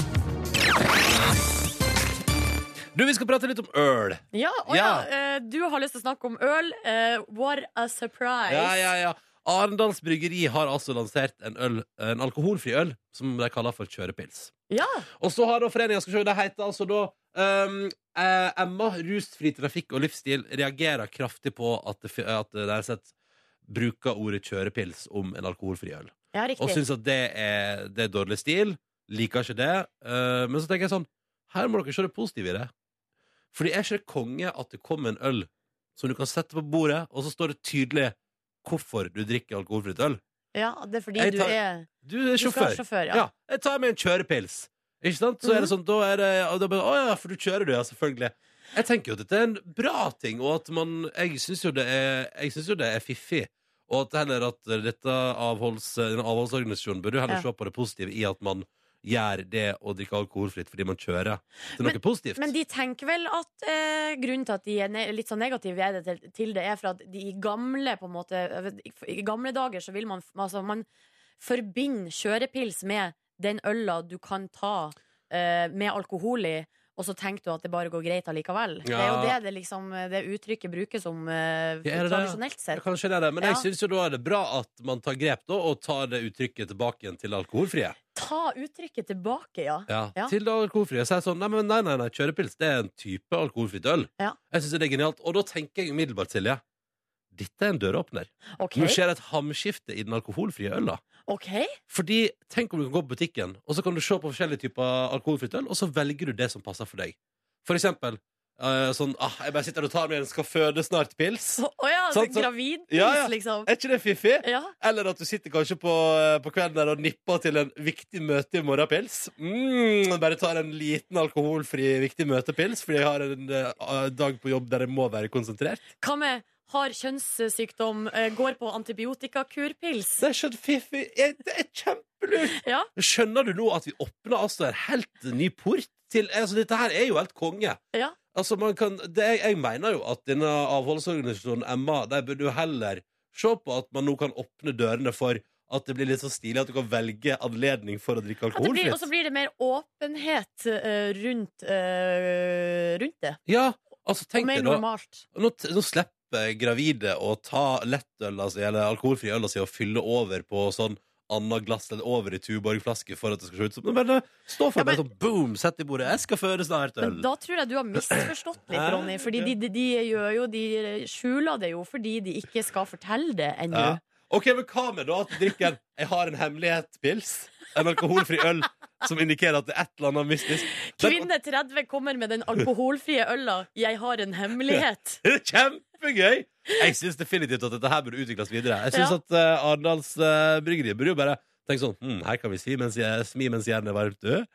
Du, vi skal prate litt om øl.
Ja, og ja.
Ja.
eh, Du har lyst til å snakke om øl. Eh, what a surprise.
Ja, ja, ja. Arendals Bryggeri har altså lansert en, øl, en alkoholfri øl som de kaller for kjørepils.
Ja.
Og så har da foreninga Skal vi se, det heter altså da ehm, eh, Emma, rusfri trafikk og livsstil reagerer kraftig på at det, fi- at det der sett bruker ordet kjørepils om en alkoholfri øl.
ja,
Og
riktig.
syns at det er, det er dårlig stil. Liker ikke det. Eh, men så tenker jeg sånn Her må dere se det positive i det. Fordi er ikke det konge at det kommer en øl som du kan sette på bordet, og så står det tydelig hvorfor du drikker alkoholfritt øl?
Ja, det er fordi
Jeg
du
tar-
er
Du er
Du skal
sjåfør.
være sjåfør,
Ja.
ja. Mhm.
jeg tar meg en kjørepils. Ikke sant? Så er det sånn, da er det og da bare, Å ja, for du kjører, du, ja, selvfølgelig. Jeg tenker jo at dette er en bra ting, og at man Jeg syns jo, det er- jeg synes jo det er fiffig. Og at heller at dette avholds, denne avholdsorganisasjonen bør jo heller
Ja.
se på det positive i at man gjør det å drikke alkoholfritt fordi man kjører. Det er noe
Men-
positivt.
Men de tenker vel at eh, grunnen til at de er ne litt sånn negative er det til, til det, er for at de i gamle på en måte I gamle dager så vil man f- altså, Man forbinder kjørepils med den øla du kan ta eh, med alkohol i. og så tenker du at det bare går greit allikevel. Det er jo
Ja.
det det, liksom, det uttrykket brukes om eh,
Ja, er det det?
tradisjonelt sett.
Kanskje det er det, men jeg
Ja.
syns jo da er det bra at man tar grep da, og tar det uttrykket tilbake igjen til det alkoholfrie.
Ta uttrykket tilbake, ja.
Ja.
Ja.
Til det alkoholfrie. Så er jeg sånn nei, men nei, nei, nei, kjørepils det er en type alkoholfritt øl.
Ja.
Jeg syns det er genialt. Og da tenker jeg umiddelbart, Silje, dette er en døråpner.
Ok.
Nå skjer det et hamskifte i den alkoholfrie øla.
ok.
Fordi, tenk om du kan gå på butikken, og så kan du se på forskjellige typer alkoholfritt øl, og så velger du det som passer for deg. For eksempel eh, sånn ah, Jeg bare sitter og tar meg en skal føde snart-pils.
Så, å ja,
Sant, så-
gravidpils,
Ja, ja.
liksom.
Er ikke det fiffig?
Ja.
Eller at du sitter kanskje på, eh, på kvelden der og nipper til en viktig møte i morgenpils. Mm, bare tar en liten alkoholfri viktig møtepils, fordi jeg har en eh, dag på jobb der jeg må være konsentrert.
Hva med har kjønnssykdom, eh, går på antibiotikakurpils?
Det er skjønt fiffig. Eh, Det er kjempelurt!
Ja.
Skjønner du nå at vi åpner altså en helt ny port til altså, Dette her er jo helt konge.
Ja.
Altså, man kan, det, jeg mener jo at denne avholdsorganisasjonen Emma De burde jo heller se på at man nå kan åpne dørene for at det blir litt så stilig at du kan velge anledning for å drikke
At det blir- Og
alkoholfritt.
så blir det mer åpenhet eh, rundt, eh, rundt det.
Ja, altså
Og
tenk
mer
deg da
normalt.
nå, t- nå slipper gravide å ta lettøl, altså, eller alkoholfri øl, altså, og fylle over på sånn annet glass eller over i Tuborg-flaske for at det skal se ut som Men bare stå for
Ja,
det,
men-
sånn boom, sett i bordet, jeg skal føre snart øl.
Men da tror jeg du har misforstått litt, Ronny. Fordi de, de, de gjør jo De skjuler det jo fordi de ikke skal fortelle det ennå.
Ja. Ok, men hva med da at du drikker en- Jeg har en hemmelighetspils, en alkoholfri øl, som indikerer at det er et eller annet mystisk. Den-
Kvinne 30 kommer med den alkoholfrie øla 'Jeg har en hemmelighet'.
Det er kjempegøy! Jeg syns definitivt at dette her burde utvikles videre. Jeg syns
Ja.
at uh, Arendals eh, Bryggeri burde jo bare tenke sånn hm, Her kan vi si mens jeg, smi mens jernet er varmt. du.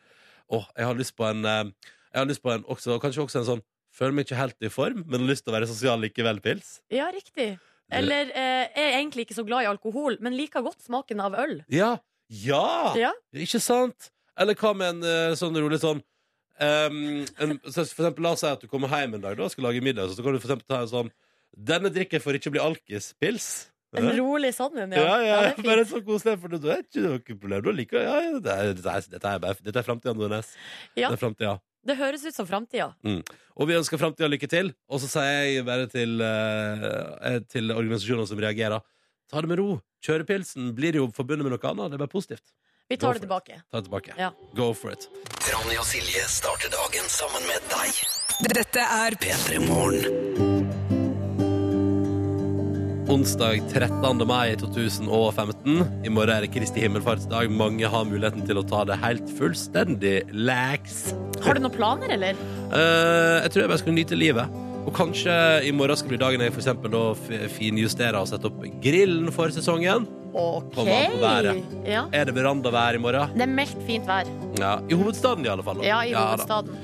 Åh, jeg har lyst på en eh, Jeg har lyst på en også, kanskje også en sånn Føler meg ikke helt i form, men har lyst til å være sosial likevel-pils.
Ja, riktig. Eller eh, er egentlig ikke så glad i alkohol, men liker godt smaken av øl.
Ja! Ja!
Ja.
Ikke sant? Eller hva med en eh, sånn rolig sånn ehm, en, så For eksempel, la oss si at du kommer hjem en dag da, og skal lage middag, så kan du for eksempel ta en sånn Denne drikken får ikke bli alkis-pils.
En rolig sannhet, ja.
Ja, ja,
det er fint.
bare så koselig, for det er ikke noe problem. Du liker ja, ja, det. Er, dette, er, dette, er, bare- dette er framtida, Nordnes.
Ja.
Det er framtida.
Det høres ut som framtida.
Og vi ønsker framtida lykke til. Og så sier jeg bare til, eh, eh, til organisasjoner som reagerer, ta det med ro. Kjørepilsen blir jo forbundet med noe annet. Det er bare positivt.
Vi
Go
tar det
for
tilbake.
Ta det tilbake.
Ja.
Go for it.
Ronny og Silje starter dagen sammen med deg.
Dette er
P3 Morgen.
Onsdag 13. mai 2015. I morgen er det Kristi himmelfartsdag. Mange har muligheten til å ta det helt fullstendig lax.
Har du noen planer, eller?
Eh, jeg tror jeg bare skal nyte livet. Og kanskje i morgen skal bli dagen jeg for eksempel da f- finjusterer og setter opp grillen for sesongen.
OK.
Kommer an på været.
Ja.
Er det verandavær i morgen?
Det er meldt fint vær.
Ja, I hovedstaden, i alle fall. da.
Ja, i
da.
hovedstaden.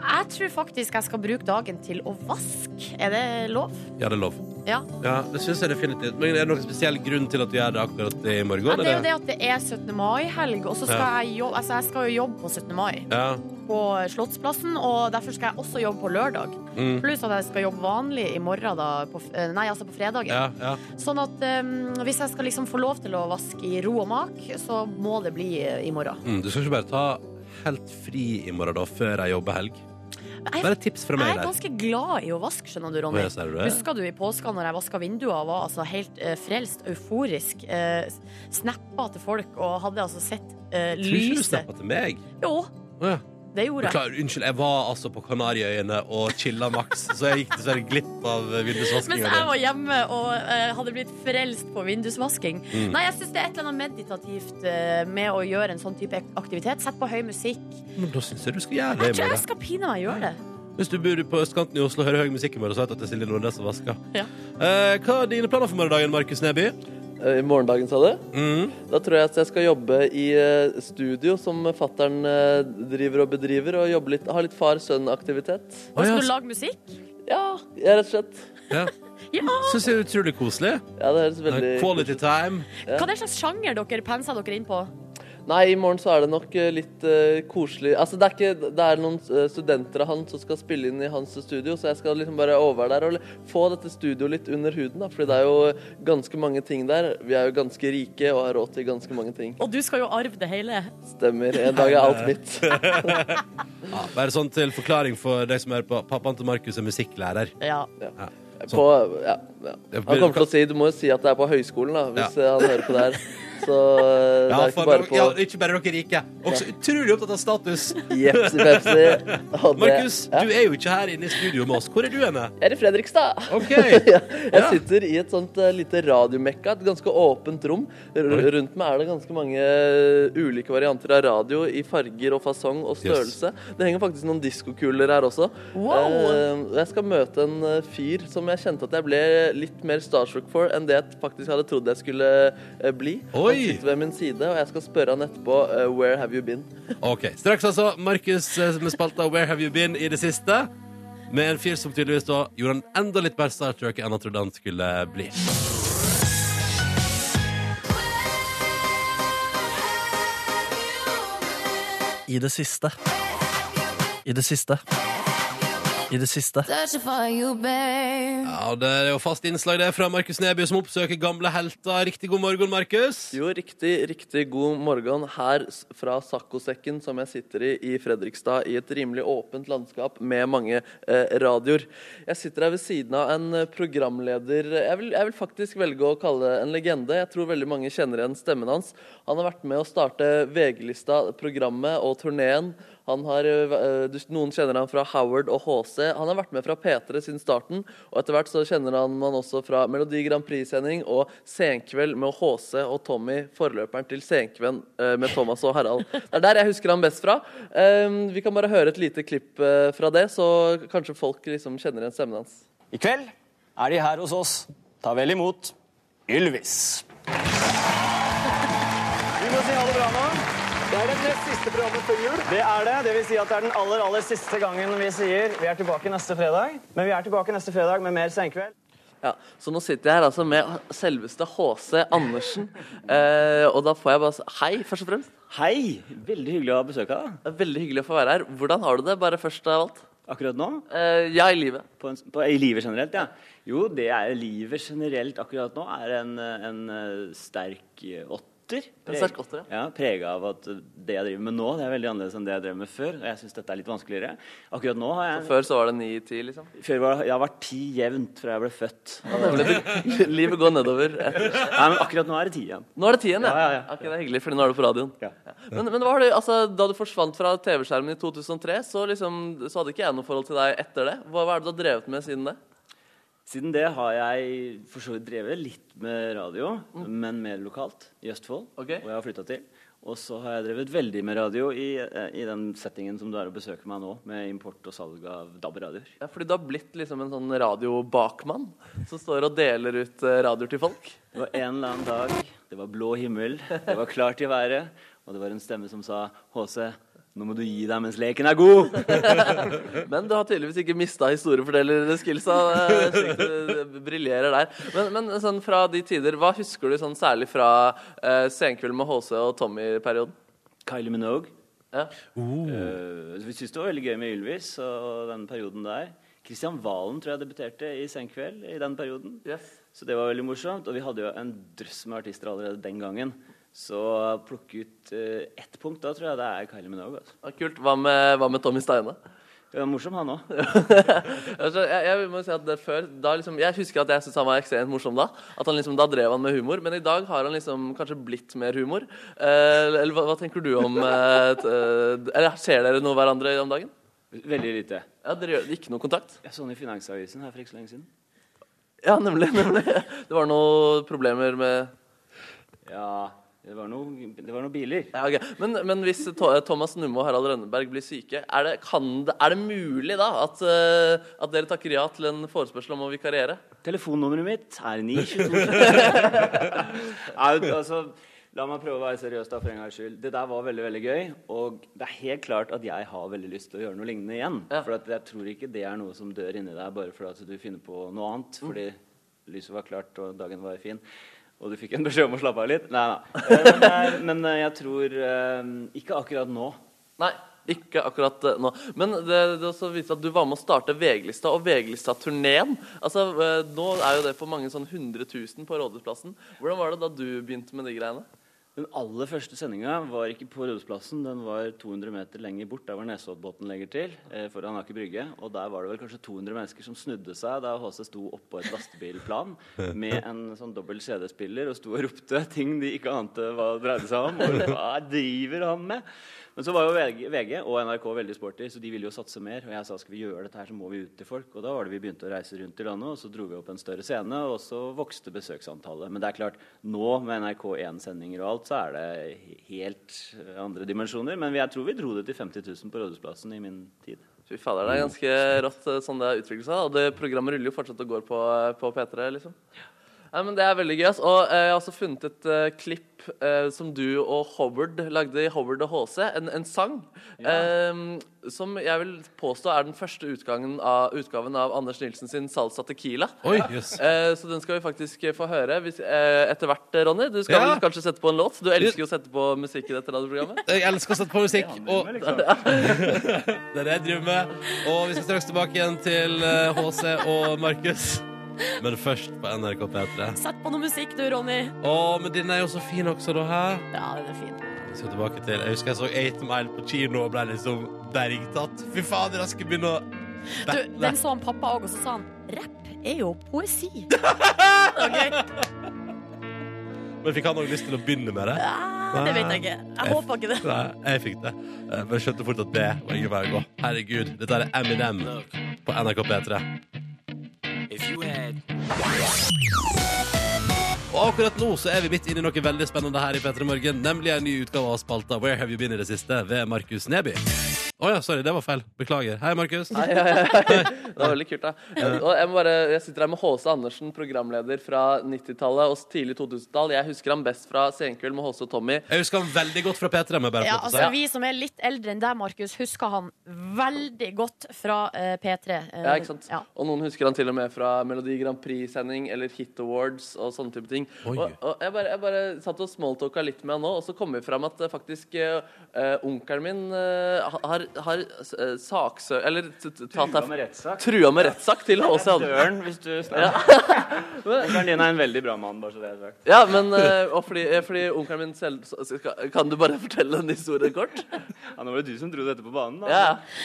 Jeg tror faktisk jeg skal bruke dagen til å vaske. Er det lov?
Ja, det er lov.
Ja.
Ja, det synes jeg definitivt. Men er det noen spesiell grunn til at du gjør det akkurat i morgen?
ja. Det er jo
eller?
det at det er 17. mai-helg, og så skal
Ja.
jeg jobbe Altså, jeg skal jo jobbe på 17. mai
Ja.
på Slottsplassen, og derfor skal jeg også jobbe på lørdag.
Mm.
Pluss at jeg skal jobbe vanlig i morgen, da. På, f- eh, nei, altså på fredagen.
Ja, ja.
Sånn at eh, hvis jeg skal liksom få lov til å vaske i ro og mak, så må det bli eh, i morgen.
Mm, du skal ikke bare ta helt fri i morgen, da, før jeg jobber helg?
Jeg,
Bare et tips fra
jeg
meg
er
der.
ganske glad i å vaske, skjønner du, Ronny.
Å, ja, ser du det?
Husker du i påska når jeg vaska vinduer og var altså helt eh, frelst, euforisk, eh, snappa til folk og hadde altså sett eh,
Tror ikke du
lyset
snappa til meg.
Jo,
Å, ja.
det gjorde jeg.
Beklager, unnskyld, jeg var altså på Kanariøyene og chilla maks, så jeg gikk dessverre glipp av eh,
Mens
vindusvaskinga.
jeg var hjemme og eh, hadde blitt frelst på vindusvasking.
Mm.
Nei, jeg syns det er et eller annet meditativt eh, med å gjøre en sånn type aktivitet. Sett på høy musikk.
Men da syns jeg du skal gjøre det
Jeg
i
tror jeg
morgen.
skal pine meg gjøre det.
Hvis du bor på østkanten i Oslo og hører høy musikk i morgen, så vet du at det er Silje Nordnes som vasker.
Ja.
Eh, hva er dine planer for morgendagen, Markus Neby?
Eh, I morgendagen, sa du?
Mm.
Da tror jeg at jeg skal jobbe i eh, studio som fattern driver og bedriver, og jobbe litt, ha litt far-sønn-aktivitet.
Og
ja,
skal du lage musikk?
Ja, ja, rett og slett.
ja.
Ja!
Syns jeg er utrolig koselig.
Ja, det høres veldig
Quality time.
Hva er det slags sjanger dere penser dere inn på?
Nei, i morgen så er det nok eh, litt eh, koselig Altså, det er ikke Det er noen eh, studenter av han som skal spille inn i hans studio, så jeg skal liksom bare over der og li- få dette studioet litt under huden, da, fordi det er jo ganske mange ting der. Vi er jo ganske rike og har råd til ganske mange ting.
Og du skal jo arve det hele.
Stemmer. En dag er alt mitt.
Ja, bare sånn til forklaring for deg som hører på. Pappaen til Markus er musikklærer.
Ja.
Ja.
På, ja, ja.
Det
Han
blir-
kommer til å si Du må jo si at det er på høyskolen, da, hvis eh, han hører på det her. Så eh, det
Ja, for,
er ikke bare på
ja, ikke bare dere rike. Også utrolig opptatt av status.
Jepsi Pepsi. Og det-
Markus,
ja.
du er jo ikke her inne i studio med oss. Hvor er du henne?
Jeg er i Fredrikstad.
OK.
ja. Jeg
Ja.
sitter i et sånt eh, lite radiomekka, et ganske åpent rom. R rundt meg er det ganske mange eh, ulike varianter av radio i farger og fasong og størrelse. Det henger faktisk noen diskokuler her også.
Wow.
Eh, jeg skal møte en eh, fyr som jeg kjente at jeg ble litt mer starstruck for enn det jeg faktisk hadde trodd jeg skulle eh, bli.
Oi.
Han sitter ved min side, og jeg skal spørre han etterpå eh, Where have you been?
Ok, Straks altså Markus eh, med spalta Where have you been i det siste. Med en fyr som tydeligvis da gjorde han enda litt mer Star Trek enn han trodde han skulle bli.
I det siste. I det siste. I det siste.
Ja, og Det er jo fast innslag det fra Markus Neby som oppsøker gamle helter. Riktig god morgen, Markus.
Jo, riktig, riktig god morgen her s- fra Sakkosekken som jeg sitter i i Fredrikstad, i et rimelig åpent landskap med mange eh, radioer. Jeg sitter her ved siden av en eh, programleder jeg vil, jeg vil faktisk velge å kalle en legende. Jeg tror veldig mange kjenner igjen stemmen hans. Han har vært med å starte VG-lista, programmet og turneen. Han har, eh, v- eh, du- noen kjenner han fra Howard og HC. Han har vært med fra P3 siden starten. Og etter hvert så kjenner han han også fra Melodi Grand Prix-sending og Senkveld med HC og Tommy, forløperen til Senkvenn eh, med Thomas og Harald. Det er der jeg husker han best fra. Eh, Vi kan bare høre et lite klipp eh, fra det, så kanskje folk liksom kjenner igjen stemmen hans.
I kveld er de her hos oss. Ta vel imot Ylvis. Vi må si ha det bra nå. Det er det nest siste programmet før jul. Det er det. Det vil si at det er den aller, aller siste gangen vi sier vi er tilbake neste fredag. Men vi er tilbake neste fredag med mer senkveld.
Ja, Så nå sitter jeg her altså med selveste HC Andersen. Eh, og da får jeg bare s- Hei, først og fremst.
Hei! Veldig hyggelig å ha besøk av deg.
Det er veldig hyggelig å få være her. Hvordan har du det, bare først av alt?
Akkurat nå?
Eh, ja, i livet.
På en, på, I livet generelt, ja. Jo, det er livet generelt akkurat nå er en, en eh, sterk eh, åtter.
En sterk åtter,
ja. Prega av at det jeg driver med nå, det er veldig annerledes enn det jeg drev med før. Og jeg syns dette er litt vanskeligere. Akkurat nå har jeg
Før så var det 9-10, liksom.
Før var, jeg har vært ti jevnt fra jeg ble født.
Livet går nedover.
Nei, men akkurat nå er det ti igjen.
Nå er det tien, ja.
Ja, ja, ja.
Ok, det er hyggelig, for nå er du på radioen.
Ja.
Men, men hva har du, altså, da du forsvant fra TV-skjermen i 2003, så, liksom, så hadde ikke jeg noe forhold til deg etter det. Hva, hva er det du har drevet med siden det?
Siden det har jeg for så vidt drevet litt med radio, men mer lokalt, i Østfold,
Ok.
hvor jeg har flytta til. Og så har jeg drevet veldig med radio i, eh, i den settingen som du er og besøker meg nå, med import og salg av DAB-radioer.
Ja, fordi du har blitt liksom en sånn radiobakmann som står og deler ut eh, radioer til folk.
Det var en eller annen dag, det var blå himmel, det var klart i været, og det var en stemme som sa HC, nå må du gi deg mens leken er god!
Men du har tydeligvis ikke mista historiefortellerskillsa. eh, slik du Briljerer der. Men, men sånn fra de tider, hva husker du sånn særlig fra eh, Senkveld med HC og Tommy-perioden?
Kylie Minogue.
Ja.
Eh, vi syntes det var veldig gøy med Ylvis og den perioden der. Kristian Valen tror jeg debuterte i Senkveld i den perioden.
Yes.
Så det var veldig morsomt. Og vi hadde jo en drøss med artister allerede den gangen. Så plukke ut eh, ett punkt, da tror jeg det er Kylie Minogue. Altså.
Ja, kult. Hva med, hva med Tommy Steine?
Det var morsom, han òg.
Altså, jeg, jeg må si at det før da liksom, Jeg husker at jeg syntes han var ekstremt morsom da. At han liksom, Da drev han med humor. Men i dag har han liksom kanskje blitt mer humor. Eh, eller hva, hva tenker du om eh, t- eh, Eller Ser dere noe hverandre om dagen?
Veldig lite.
Ja, Dere gjør ikke noe kontakt?
Jeg så han i Finansavisen her for ikke så lenge siden.
Ja, nemlig. nemlig. Det var noen problemer med
Ja, det var noe- det var noen biler.
ja, ok. men, men hvis to, Thomas Numme og Harald Rønneberg blir syke, er det, kan det, er det mulig da at, eh, at dere takker ja til en forespørsel om å vikariere?
Telefonnummeret mitt er 922. Nei, altså, la meg prøve å være seriøs da, for en gangs skyld. Det der var veldig veldig gøy. Og det er helt klart at jeg har veldig lyst til å gjøre noe lignende igjen.
Ja.
For at jeg tror ikke det er noe som dør inni deg bare fordi at du finner på noe annet. Fordi lyset var klart, og dagen var fin. Og du fikk en beskjed om å slappe av litt. Nei, nei. Eh, Men, jeg- men eh, jeg tror eh, Ikke akkurat nå.
Nei, ikke akkurat eh, nå. Men det, det også viser at du var med å starte VG-lista og VG-lista-turneen. Altså, eh, nå er jo det for mange sånn 100 000 på Rådhusplassen. Hvordan var det da du begynte med de greiene?
Det Den aller første sendinga var ikke på Rådhusplassen. Den var 200 meter lenger bort, der hvor Nesoddbåten legger til. Eh, foran Aker Brygge. Og der var det vel kanskje 200 mennesker som snudde seg da HC sto oppå et lastebilplan med en sånn dobbel CD-spiller og sto og ropte ting de ikke ante hva dreide seg om. Og hva driver han med? Men så var jo VG, VG og NRK veldig sporty, så de ville jo satse mer. Og jeg sa skal vi gjøre dette her, så må vi ut til folk. Og da var det vi begynte å reise rundt i landet, og så dro vi opp en større scene, og så vokste besøksantallet. Men det er klart, nå med NRK1-sendinger og alt, så er det he- helt eh, andre dimensjoner. Men jeg tror vi dro det til 50 000 på Rådhusplassen i min tid.
Fy fader, det er ganske rått eh, sånn det har utviklet seg. Og det programmet ruller jo fortsatt og går på, på P3, liksom. Nei, men Det er veldig gøy. ass. Og eh, jeg har også funnet et eh, klipp eh, som du og Howard lagde i Howard og HC, en, en sang. eh, som jeg vil påstå er den første utgangen av, utgaven av Anders Nilsen sin Salsa Tequila.
Oi, jøss.
Eh, så den skal vi faktisk eh, få høre hvis, eh, etter hvert, eh, Ronny. Du skal
Ja.
vel kanskje sette på en låt? Du elsker jo å sette på musikk i dette radioprogrammet.
Jeg elsker å sette på musikk. Og det er det jeg driver med. Og vi skal straks tilbake igjen til eh, HC og Markus. Men først på NRK P3.
Sett på noe musikk du, Ronny.
Å, men denne er jo så fin også, da. Hæ?
Ja, den er fin.
Vi skal tilbake til Jeg husker jeg så 8 Mile på kino og ble liksom bergtatt. Fy fader, jeg skal begynne å
Du,
Nei.
den så han pappa òg, og så sa han rapp er jo poesi. Det var gøy.
Men fikk han òg lyst til å begynne med det?
Ah, Det vet jeg ikke. Jeg håper ikke det.
Nei, jeg fikk det. Eh, Men jeg skjønte fort at det var ingen vei å gå. Herregud, dette er Eminem på NRK P3. Og akkurat nå så er vi midt inne i noe veldig spennende her i P3 Morgen, nemlig en ny utgave av spalta Where Have You Been i det siste ved Markus Neby. Å ja, sorry, det var feil. Beklager. Hei, Markus.
Hei, hei, hei. Det var veldig kult, da. Og jeg, må bare, jeg sitter her med H.C. Andersen, programleder fra 90-tallet og tidlig 2000-tall. Jeg husker ham best fra Senkveld med H.C. og Tommy.
Jeg husker han veldig godt fra P3. Med bare
Ja,
få lov til å
altså
si.
Vi som er litt eldre enn deg, Markus, husker han veldig godt fra eh, P3. eh,
Ja, ikke sant?
ja.
Og noen husker han til og med fra Melodi Grand Prix-sending eller Hit Awards og sånne type ting.
Oi.
Og, og jeg, bare, jeg bare satt og smalltalka litt med han nå, og så kom vi fram at eh, faktisk eh, eh, onkelen min eh, har, har eh, saksø... Eller t- t- tatt
Trua med
her
rettssak.
Trua med rettssak til H.C. Andersen.
Døren, hvis du snakker. Gardina er en veldig bra mann, bare så det er sagt.
Ja, men eh, og fordi, eh, fordi onkelen min selv så- så skal- Kan du bare fortelle en historie kort?
Ja, nå var det du som dro dette på banen. Da.
Ja.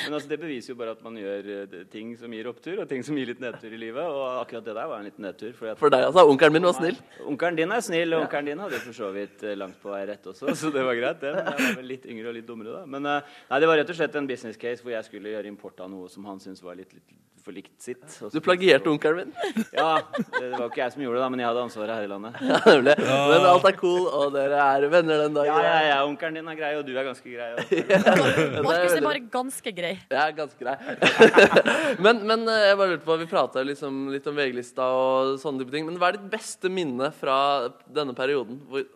Men altså, det beviser jo bare at man gjør eh, det- ting som gir opptur, og ting som gir litt nedtur i livet. Og akkurat det der var en liten nedtur. fordi at-
For deg, altså. Onkelen min var snill.
Nei, Onkelen din er snill, og onkelen din hadde jo for så vidt eh, langt på vei rett også, så det var greit, det. Men jeg var vel litt yngre og litt dummere da. Men eh, nei, det var rett og slett en business case hvor jeg skulle gjøre import av noe som han syntes var litt, litt for likt sitt. og så-
Du plagierte onkelen min.
Ja. Det var ikke jeg som gjorde det, da, men jeg hadde ansvaret her i landet.
Ja, nemlig. Men alt er cool, og dere er venner den dagen.
Ja, ja, ja, onkelen din er grei, og du er ganske grei. Og...
Det
Markus
er
er
veldig-
bare ganske grei.
Jeg er ganske grei. men, men eh, jeg bare lurte på, vi prata liksom litt om VG-lista og sånne type ting. Men hva er ditt beste minne fra denne perioden? Hvor,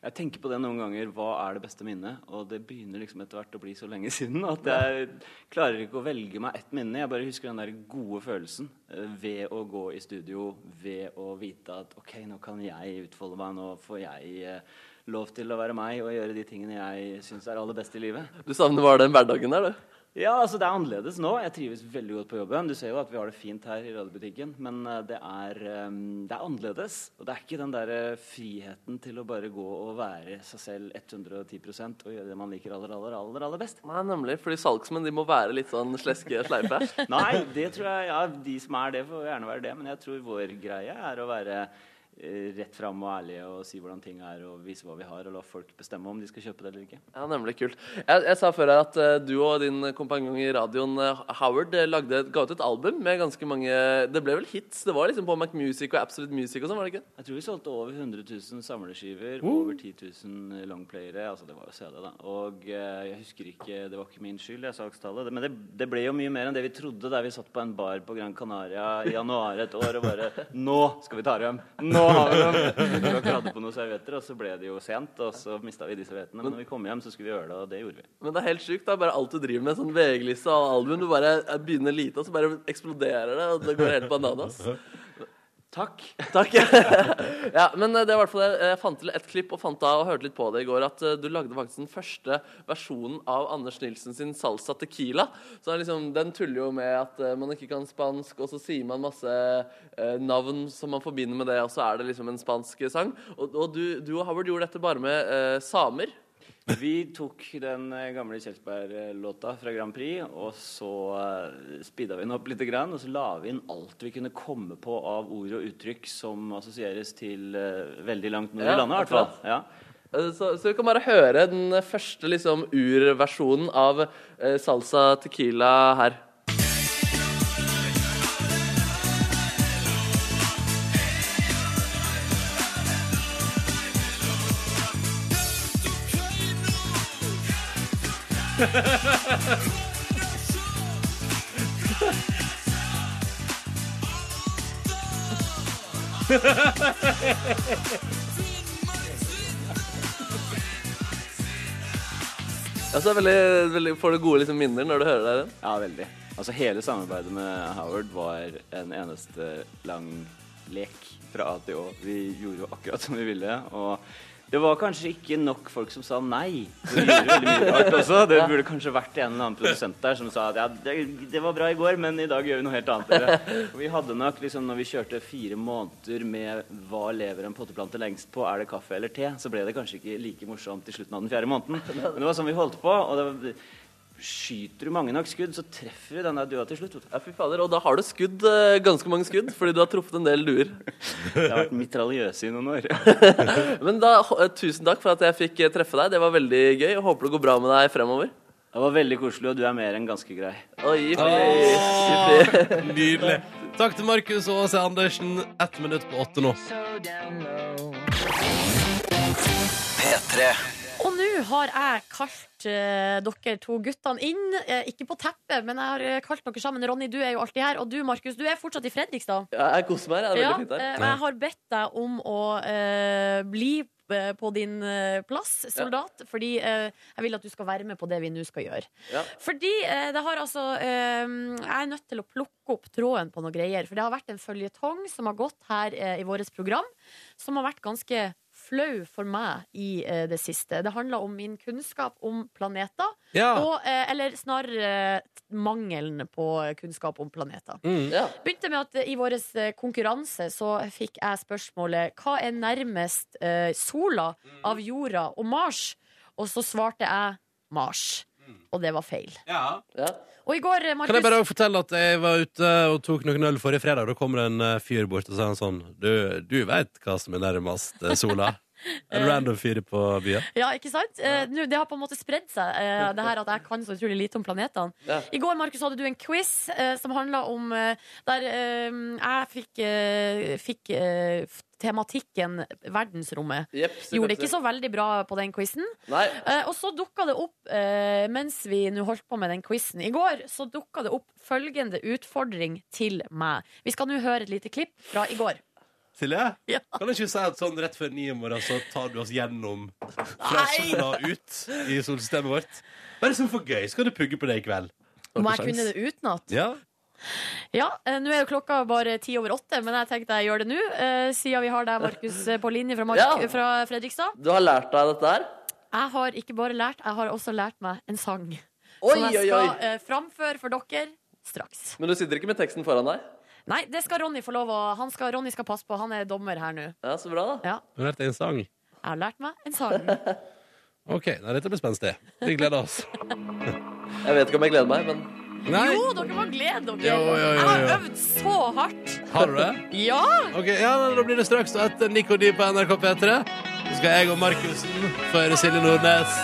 Jeg tenker på det noen ganger. Hva er det beste minnet? Og det begynner liksom etter hvert å bli så lenge siden at jeg klarer ikke å velge meg ett minne. Jeg bare husker den der gode følelsen eh, ved å gå i studio, ved å vite at OK, nå kan jeg utfolde meg. Nå får jeg eh, lov til å være meg og gjøre de tingene jeg syns er aller best i livet.
du savner var den hverdagen der, du?
Ja, altså det er annerledes nå. Jeg trives veldig godt på jobben. Du ser jo at vi har det fint her i radiobutikken, men eh, det er, eh, det er annerledes. Og det er ikke den der eh, friheten til å bare gå og være seg selv 110 og gjøre det man liker aller, aller, aller, aller best.
Nei, nemlig. Fordi salgsmenn de må være litt sånn sleske sleipe.
Nei, det tror jeg Ja, de som er det, får gjerne være det, men jeg tror vår greie er å være eh, rett fram og ærlige og si hvordan ting er og vise hva vi har, og la folk bestemme om de skal kjøpe det eller ikke.
Ja, nemlig kult. Jeg, jeg sa før her at eh, du og din kompanjong i radioen, eh, Howard, eh, lagde, et- ga ut et album med ganske mange Det ble vel hits? Det var liksom på Mac Music og Absolute Music og sånn, var det ikke?
Jeg tror vi solgte over 100 000 samleskiver, over 10 000 longplayere. Altså, det var jo CD, da. Og eh, jeg husker ikke Det var ikke min skyld, jeg sakstallet. Men det, det ble jo mye mer enn det vi trodde der vi satt på en bar på Gran Canaria i januar et år og bare Nå skal vi ta dem! Nå har vi dem! Vi hadde på noen servietter, og så ble det jo sent, og så mista vi de serviettene. Men når vi kom hjem, så skulle vi gjøre det, og det gjorde vi.
Men det er helt sjukt. da, Bare alt du driver med, sånn VG-liste og album, du bare eh, begynner lite, og så bare eksploderer det, og det går helt bananas.
Takk.
Takk. ja, men eh, det var i hvert fall det. Jeg fant til et klipp og fant av og hørte litt på det i går at eh, du lagde faktisk den første versjonen av Anders Nilsen sin salsa tequila. Så det er liksom, Den tuller jo med at eh, man ikke kan spansk, og så sier man masse eh, navn som man forbinder med det, og så er det liksom en spansk sang. Og, og du, du og Howard gjorde dette bare med eh, samer.
Vi tok den eh, gamle Kjelsberg-låta fra Grand Prix, og så eh, speeda vi den opp litt, grann, og så la vi inn alt vi kunne komme på av ord og uttrykk som assosieres til eh, veldig langt nord
Ja,
i landet, i hvert fall.
akkurat.
Ja.
Eh, Så, så vi kan bare høre den eh, første liksom, urversjonen av eh, salsa tequila her. Altså, veldig, veldig, får du gode liksom, minner når du hører deg den?
Ja, veldig. Altså Hele samarbeidet med Howard var en eneste lang lek fra A til Å. Vi gjorde jo akkurat som vi ville. Og det var kanskje ikke nok folk som sa nei. Så vi gjorde veldig mye rart også. Det burde kanskje vært en eller annen produsent der som sa at ja, det, det var bra i går, men i dag gjør vi noe helt annet. Dere. Og Vi hadde nok liksom når vi kjørte fire måneder med hva lever en potteplante lengst på, er det kaffe eller te, så ble det kanskje ikke like morsomt i slutten av den fjerde måneden. Men det var sånn vi holdt på. og det var Skyter du mange nok skudd, så treffer du den der dua til slutt. vet du.
Ja, fy fader, Og da har du skudd, eh, ganske mange skudd, fordi du har truffet en del duer.
Jeg har vært mitraljøse i noen år.
Men da, eh, tusen takk for at jeg fikk eh, treffe deg. Det var veldig gøy. og Håper det går bra med deg fremover.
Det var veldig koselig, og du er mer enn ganske grei.
Oi,
Nydelig. Takk til Markus og Åse Andersen. Ett minutt på åtte nå.
P3.
Og nå har jeg kalt eh, dere to guttene inn. eh, ikke på teppet, men jeg har eh, kalt dere sammen. Ronny, du er jo alltid her. Og du, Markus, du er fortsatt i Fredrikstad.
ja, jeg koser meg. her. Det er
Ja,
veldig fint
eh,
her.
men jeg har bedt deg om å eh, bli eh, på din eh, plass, soldat, fordi eh, jeg vil at du skal være med på det vi nå skal gjøre.
Ja.
Fordi eh, det har altså eh, Jeg er nødt til å plukke opp tråden på noen greier. For det har vært en føljetong som har gått her eh, i vårt program, som har vært ganske flau for meg i eh, det siste. Det handler om min kunnskap om planeter.
Ja.
Og, eh, eller snarere eh, mangelen på kunnskap om planeter
Ja.
begynte med at eh, i vår konkurranse så fikk jeg spørsmålet Hva er nærmest eh, sola av jorda og Mars? Og så svarte jeg Mars. Og det var feil.
Ja.
Og i går, eh, Markus
Kan jeg bare fortelle at jeg var ute og tok noen øl forrige fredag. Da kommer det en eh, fyr bort og sier han sånn Du, du veit hva som er nærmest eh, sola? En random fyr på byen.
Ja, ikke sant? Eh, nå, det har på en måte spredd seg, eh, det her at jeg kan så utrolig lite om planetene.
Ja.
I går Markus, hadde du en quiz eh, som handla om eh, Der eh, jeg fikk, eh, fikk eh, f- tematikken verdensrommet.
Jepp,
Gjorde ikke så veldig bra på den quizen.
Nei.
Eh, og så dukka det opp, eh, mens vi nå holdt på med den quizen i går, så dukka det opp følgende utfordring til meg. Vi skal nå høre et lite klipp fra i går.
Silje?
Ja.
Kan du ikke si at sånn rett før ni i morgen så tar du oss gjennom fra sola ut i solsystemet vårt? Bare sånn for gøy. Skal du pugge på det i kveld?
Må jeg kunne det utenat?
Ja.
Ja, eh, nå er jo klokka bare ti over åtte, men jeg tenkte jeg gjør det nå, eh, siden vi har deg, Markus, eh, på linje fra, Mark
Ja.
fra Fredrikstad.
Du har lært deg dette her?
Jeg har ikke bare lært, jeg har også lært meg en sang.
Oi,
som jeg
oi,
skal
oi.
eh, framføre for dere straks.
Men du sitter ikke med teksten foran deg?
Nei, det skal Ronny få lov å han skal, Ronny skal passe på, han er dommer her nå.
Ja, Så bra, da.
Du har lært deg en sang?
Jeg har lært meg en sang.
OK. Nei, dette blir spenstig. Vi gleder oss.
Jeg vet ikke om jeg gleder meg, men
Nei.
Jo, dere må glede dere.
Jo, jo, jo,
Jeg har
jo.
øvd så hardt.
Har du det?
Ja!
Ok, ja, men Da blir det straks etter Nico D på NRK P3. Så skal jeg og Markussen føre Silje Nordnes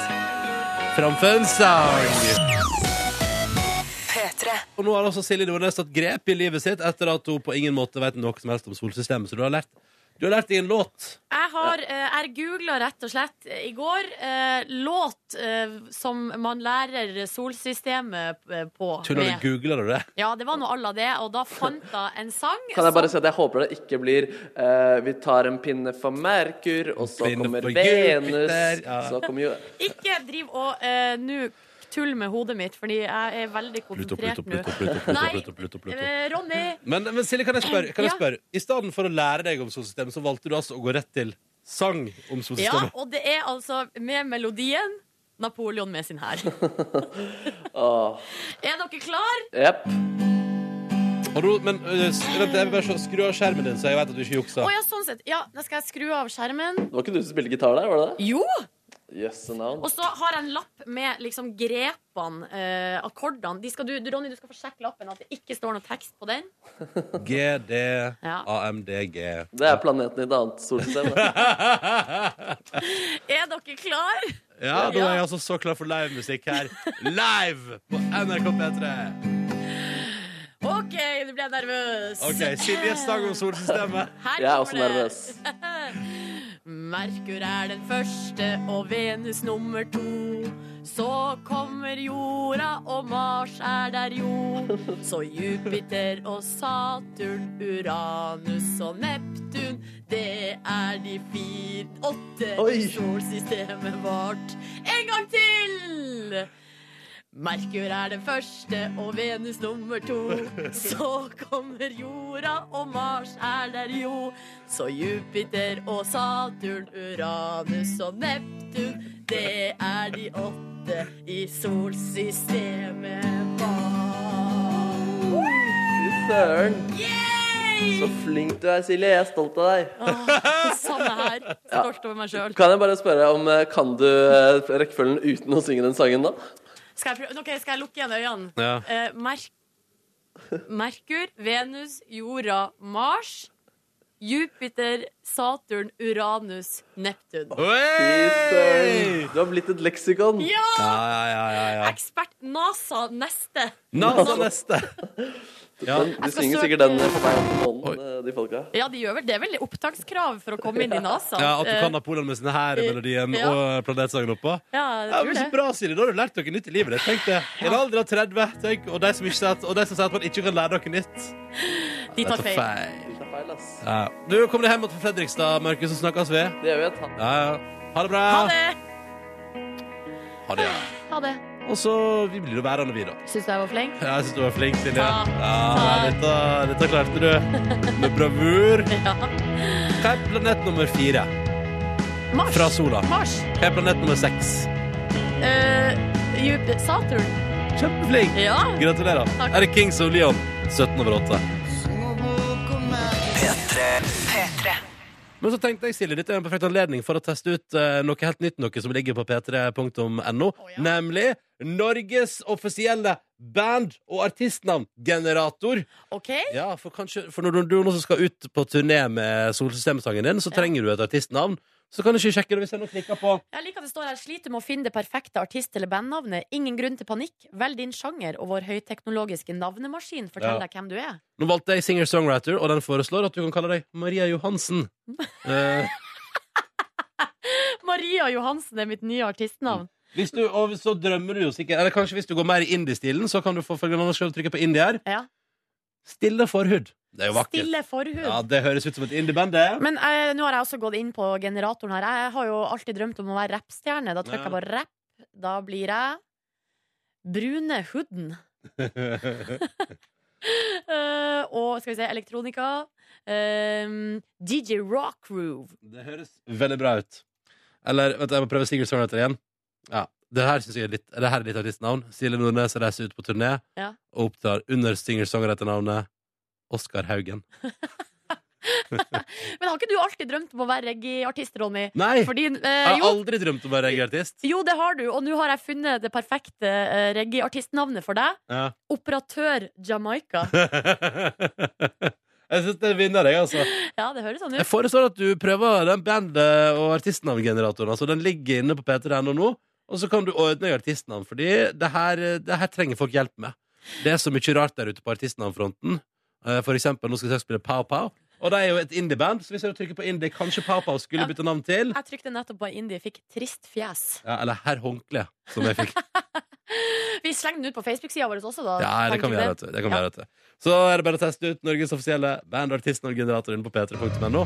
framfor en sang.
P3.
Og nå har altså Silje Nordnes tatt grep i livet sitt etter at hun på ingen måte vet noe som helst om solsystemet. Så du har lært, du har lært deg en låt.
Jeg har eh, jeg googla rett og slett i går eh, låt eh, som man lærer solsystemet eh, på.
Tuller
med.
du? Googler du det?
Ja, det var noe à la det, og da fant jeg en sang.
kan jeg bare
som-
si at jeg håper det ikke blir eh, Vi tar en pinne for Merkur, og så
Pinne
kommer
for
Venus,
Jupiter, ja.
så kommer jo
Ikke driv og eh, nå tull med hodet mitt, fordi jeg er veldig
Pluto,
konsentrert
Pluto,
nå.
Pluto, Pluto, Pluto,
Nei,
Pluto, Pluto, Pluto.
eh, Ronny!
Men, men Silje, kan jeg spørre? Kan jeg
Ja.
spørre? I stedet for å lære deg om solsystemet, så valgte du altså å gå rett til sang om
Ja,
solsystemet.
og det er altså med melodien Napoleon med sin hær.
Åh.
Er dere klar?
Jepp.
Har du, men øh, s- vent, jeg vil bare se- skru av skjermen din, så jeg vet at du ikke
Å
juksa.
ja, sånn sett. Ja, da skal jeg skru av skjermen.
Det var ikke du som spilte gitar der, var det det?
Jo!
Jøsse navn.
Og så har jeg en lapp med liksom grepene, eh, akkordene. De skal du, du, Ronny, du skal få sjekke lappen at det ikke står noe tekst på den.
G, D, A, M, D, G.
Det er planeten i et annet solsystem.
Er dere klar?
Ja, da er jeg altså så klar for livemusikk her. Live på NRK P3.
OK, nå ble jeg nervøs.
OK, Silje sang om solsystemet.
Her
Jeg er også
kommer det.
nervøs.
Merkur er den første og Venus nummer to. Så kommer jorda, og Mars er der jo. Så Jupiter og Saturn, Uranus og Neptun. Det er de fire åtte i solsystemet vårt. En gang til! Merkur er den første og Venus nummer to. Så kommer jorda, og Mars er der jo. Så Jupiter og Saturn, Uranus og Neptun, det er de åtte i solsystemet vårt.
Fy søren.
Yay!
Så flink du er, Silje. Jeg er stolt av deg.
Åh, Samme her. Stolt over meg sjøl.
Kan jeg bare spørre om eh, Kan du eh, rekkefølgen uten å synge den sangen, da?
Skal, jeg prøve- ok, skal jeg lukke igjen øynene?
Ja.
Eh, Merk Merkur, Venus, Jorda, Mars. Jupiter, Saturn, Uranus, Neptun.
Hey! Du har blitt et leksikon.
Ja!
Ja, ja, ja, ja.
Ekspert NASA neste.
NASA neste. Ja.
De synger sikkert den på meg om måneden, eh, de folka.
Ja, de gjør vel, Det er vel opptakskrav for å komme inn i NASA?
Ja, At du
Eh,
kan Napoleon med sine her melodien
Ja.
og planetsangen oppå.
Eh, Ja, jeg
Ja,
tror
men så
det.
bra, Silje. Da har du lært dere nytt i livet ditt. Tenk det. I en alder av 30. Tenk, og de som, ikke sier at, og de som sier at man ikke kan lære dere nytt.
De tar feil.
De tar feil, ass.
Ja. Du, kom deg hjem til Fredrikstad, Markus, så snakkes vi.
Det gjør vi. et
Ja, ja. Ha det bra.
Ha det!
Ha det, ja.
Ha det.
Og så vi blir jo værende, vi, da.
Syns du jeg var flink?
Ja, Jeg syns du var flink, Silje.
Takk.
Ja, dette, dette klarte du. Med bravur. Hva er planet nummer fire?
Mars.
Fra sola.
Mars.
Hva er planet nummer seks?
Eh, Jupiter, Saturn.
Kjempeflink.
Ja.
Gratulerer.
Takk.
Her er Kings of Leon, 17 over 8.
P3.
Men så tenkte jeg, Silje, dette er en perfekt anledning for å teste ut eh, noe helt nytt, noe som ligger på p3.no, nemlig Norges offisielle band- og artistnavn Generator.
OK?
Ja, for, kanskje, for når du, du nå skal ut på turné med Solsystemsangen din, så trenger du et artistnavn. Så kan du ikke sjekke det hvis jeg nå klikker på
Jeg liker at det står her Sliter med å finne det perfekte artist- eller bandnavnet. Ingen grunn til panikk. Velg din sjanger, og vår høyteknologiske navnemaskin forteller
Ja.
deg hvem du er.
Nå valgte jeg singer-songwriter, og den foreslår at du kan kalle deg Maria Johansen. Eh,
Maria Johansen er mitt nye artistnavn.
hvis du, og så drømmer du jo sikkert Eller kanskje hvis du går mer i indiestilen, så kan du få følgende annonse og trykke på indie her.
Ja.
Stille forhud. Det er jo vakkert.
Stille forhud.
Ja, det høres ut som et indieband, det.
Men eh, nå har jeg også gått inn på generatoren her. Jeg har jo alltid drømt om å være rappstjerne. Da trykker jeg på rapp. Da blir jeg Brune Hooden. Eh, og skal vi se, elektronika. Eh, DJ Rock Groove.
Det høres veldig bra ut. Eller, vet du, jeg må prøve Sigurd Sørnæter igjen. Ja, det her synes jeg er litt, det her er litt artistnavn. Silje Nordnes reiser ut på turné
Ja.
og opptar under singer-songwriter-navnet Oskar Haugen.
Men har ikke du alltid drømt om å være reggae-artist, Ronny?
Nei!
Fordi,
Jeg
eh,
har
jo,
aldri drømt om å være reggae-artist.
jo, det har du, og nå har jeg funnet det perfekte eh, reggae-artistnavnet for deg.
Ja.
Operatør Jamaica.
jeg syns det er vinner, jeg, altså.
Ja, det høres sånn
Jeg
ut.
foreslår at du prøver den bandet- og artistnavngeneratoren. Altså, den ligger inne på p3.no nå, og så kan du ordne deg artistnavn. Fordi det her, det her trenger folk hjelp med. Det er så mye rart der ute på artistnavnfronten. Eh, For eksempel, nå skal jeg spille Pow Pow. Og det er jo et indieband, så hvis jeg trykker på indie, kanskje Pow Pow skulle bytte navn til.
Jeg trykte nettopp på Indie, fikk trist fjes.
Ja, eller Herr Håndkle, som jeg fikk.
Vi slenger den ut på Facebook-sida vår også, da.
Ja, det kan vi gjøre, vet du. Det kan vi gjøre, vet du. Så er det bare å teste ut Norges offisielle band- og artistnavngenerator inne på p3.no.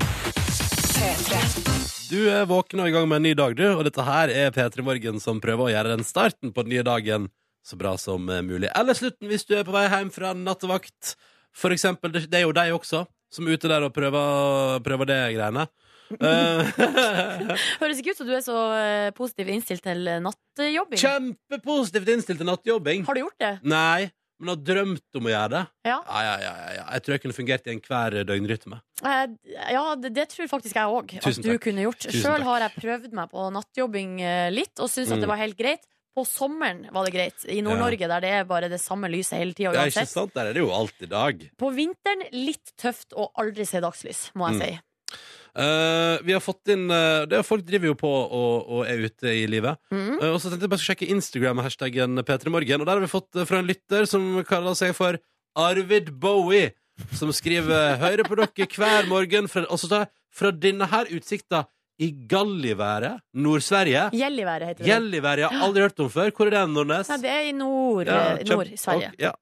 Du er våken og i gang med en ny dag, du, og dette her er P3 Morgen som prøver å gjøre den starten på den nye dagen så bra som eh, mulig. Eller slutten hvis du er på vei hjem fra nattevakt. For eksempel, det, det er jo deg også som er ute der og prøver, prøver det greiene. Eh,
Høres ikke ut som du er så eh, positivt innstilt til eh, nattjobbing.
Kjempepositivt innstilt til nattjobbing.
Har du gjort det?
Nei, men har drømt om å gjøre det.
Ja.
Ja, ja, ja, ja, ja. Jeg tror jeg kunne fungert i enhver døgnrytme.
Eh, ja, det, det tror faktisk jeg òg at
Tusen
du
takk.
kunne gjort.
Tusen
Sjøl
takk.
har jeg prøvd meg på nattjobbing eh, litt, og syns at
Mm.
det var helt greit. På sommeren var det greit. I Nord-Norge, der det er bare det samme lyset hele tida
Det er ikke
uansett.
sant, der er det jo alt i dag.
På vinteren litt tøft å aldri se dagslys, må jeg
Mm.
si.
Eh, vi har fått inn eh, det er Folk driver jo på og, og er ute i livet. Eh, og så tenkte jeg bare skulle sjekke Instagram-hashtagen P3morgen. Og der har vi fått eh, fra en lytter som kaller seg for Arvid Bowie. Som skriver 'Hører på dere hver morgen' fra, og så tar jeg, fra denne her utsikta i Galliværet, Nord-Sverige.
Gjelliværet heter det.
Gjelliværet jeg har aldri hørt om før. Hvor er den, Nordnes?
Nei, det er i nord,
Ja,
eh,
kjempe-
nord Sverige.
ok, Ja,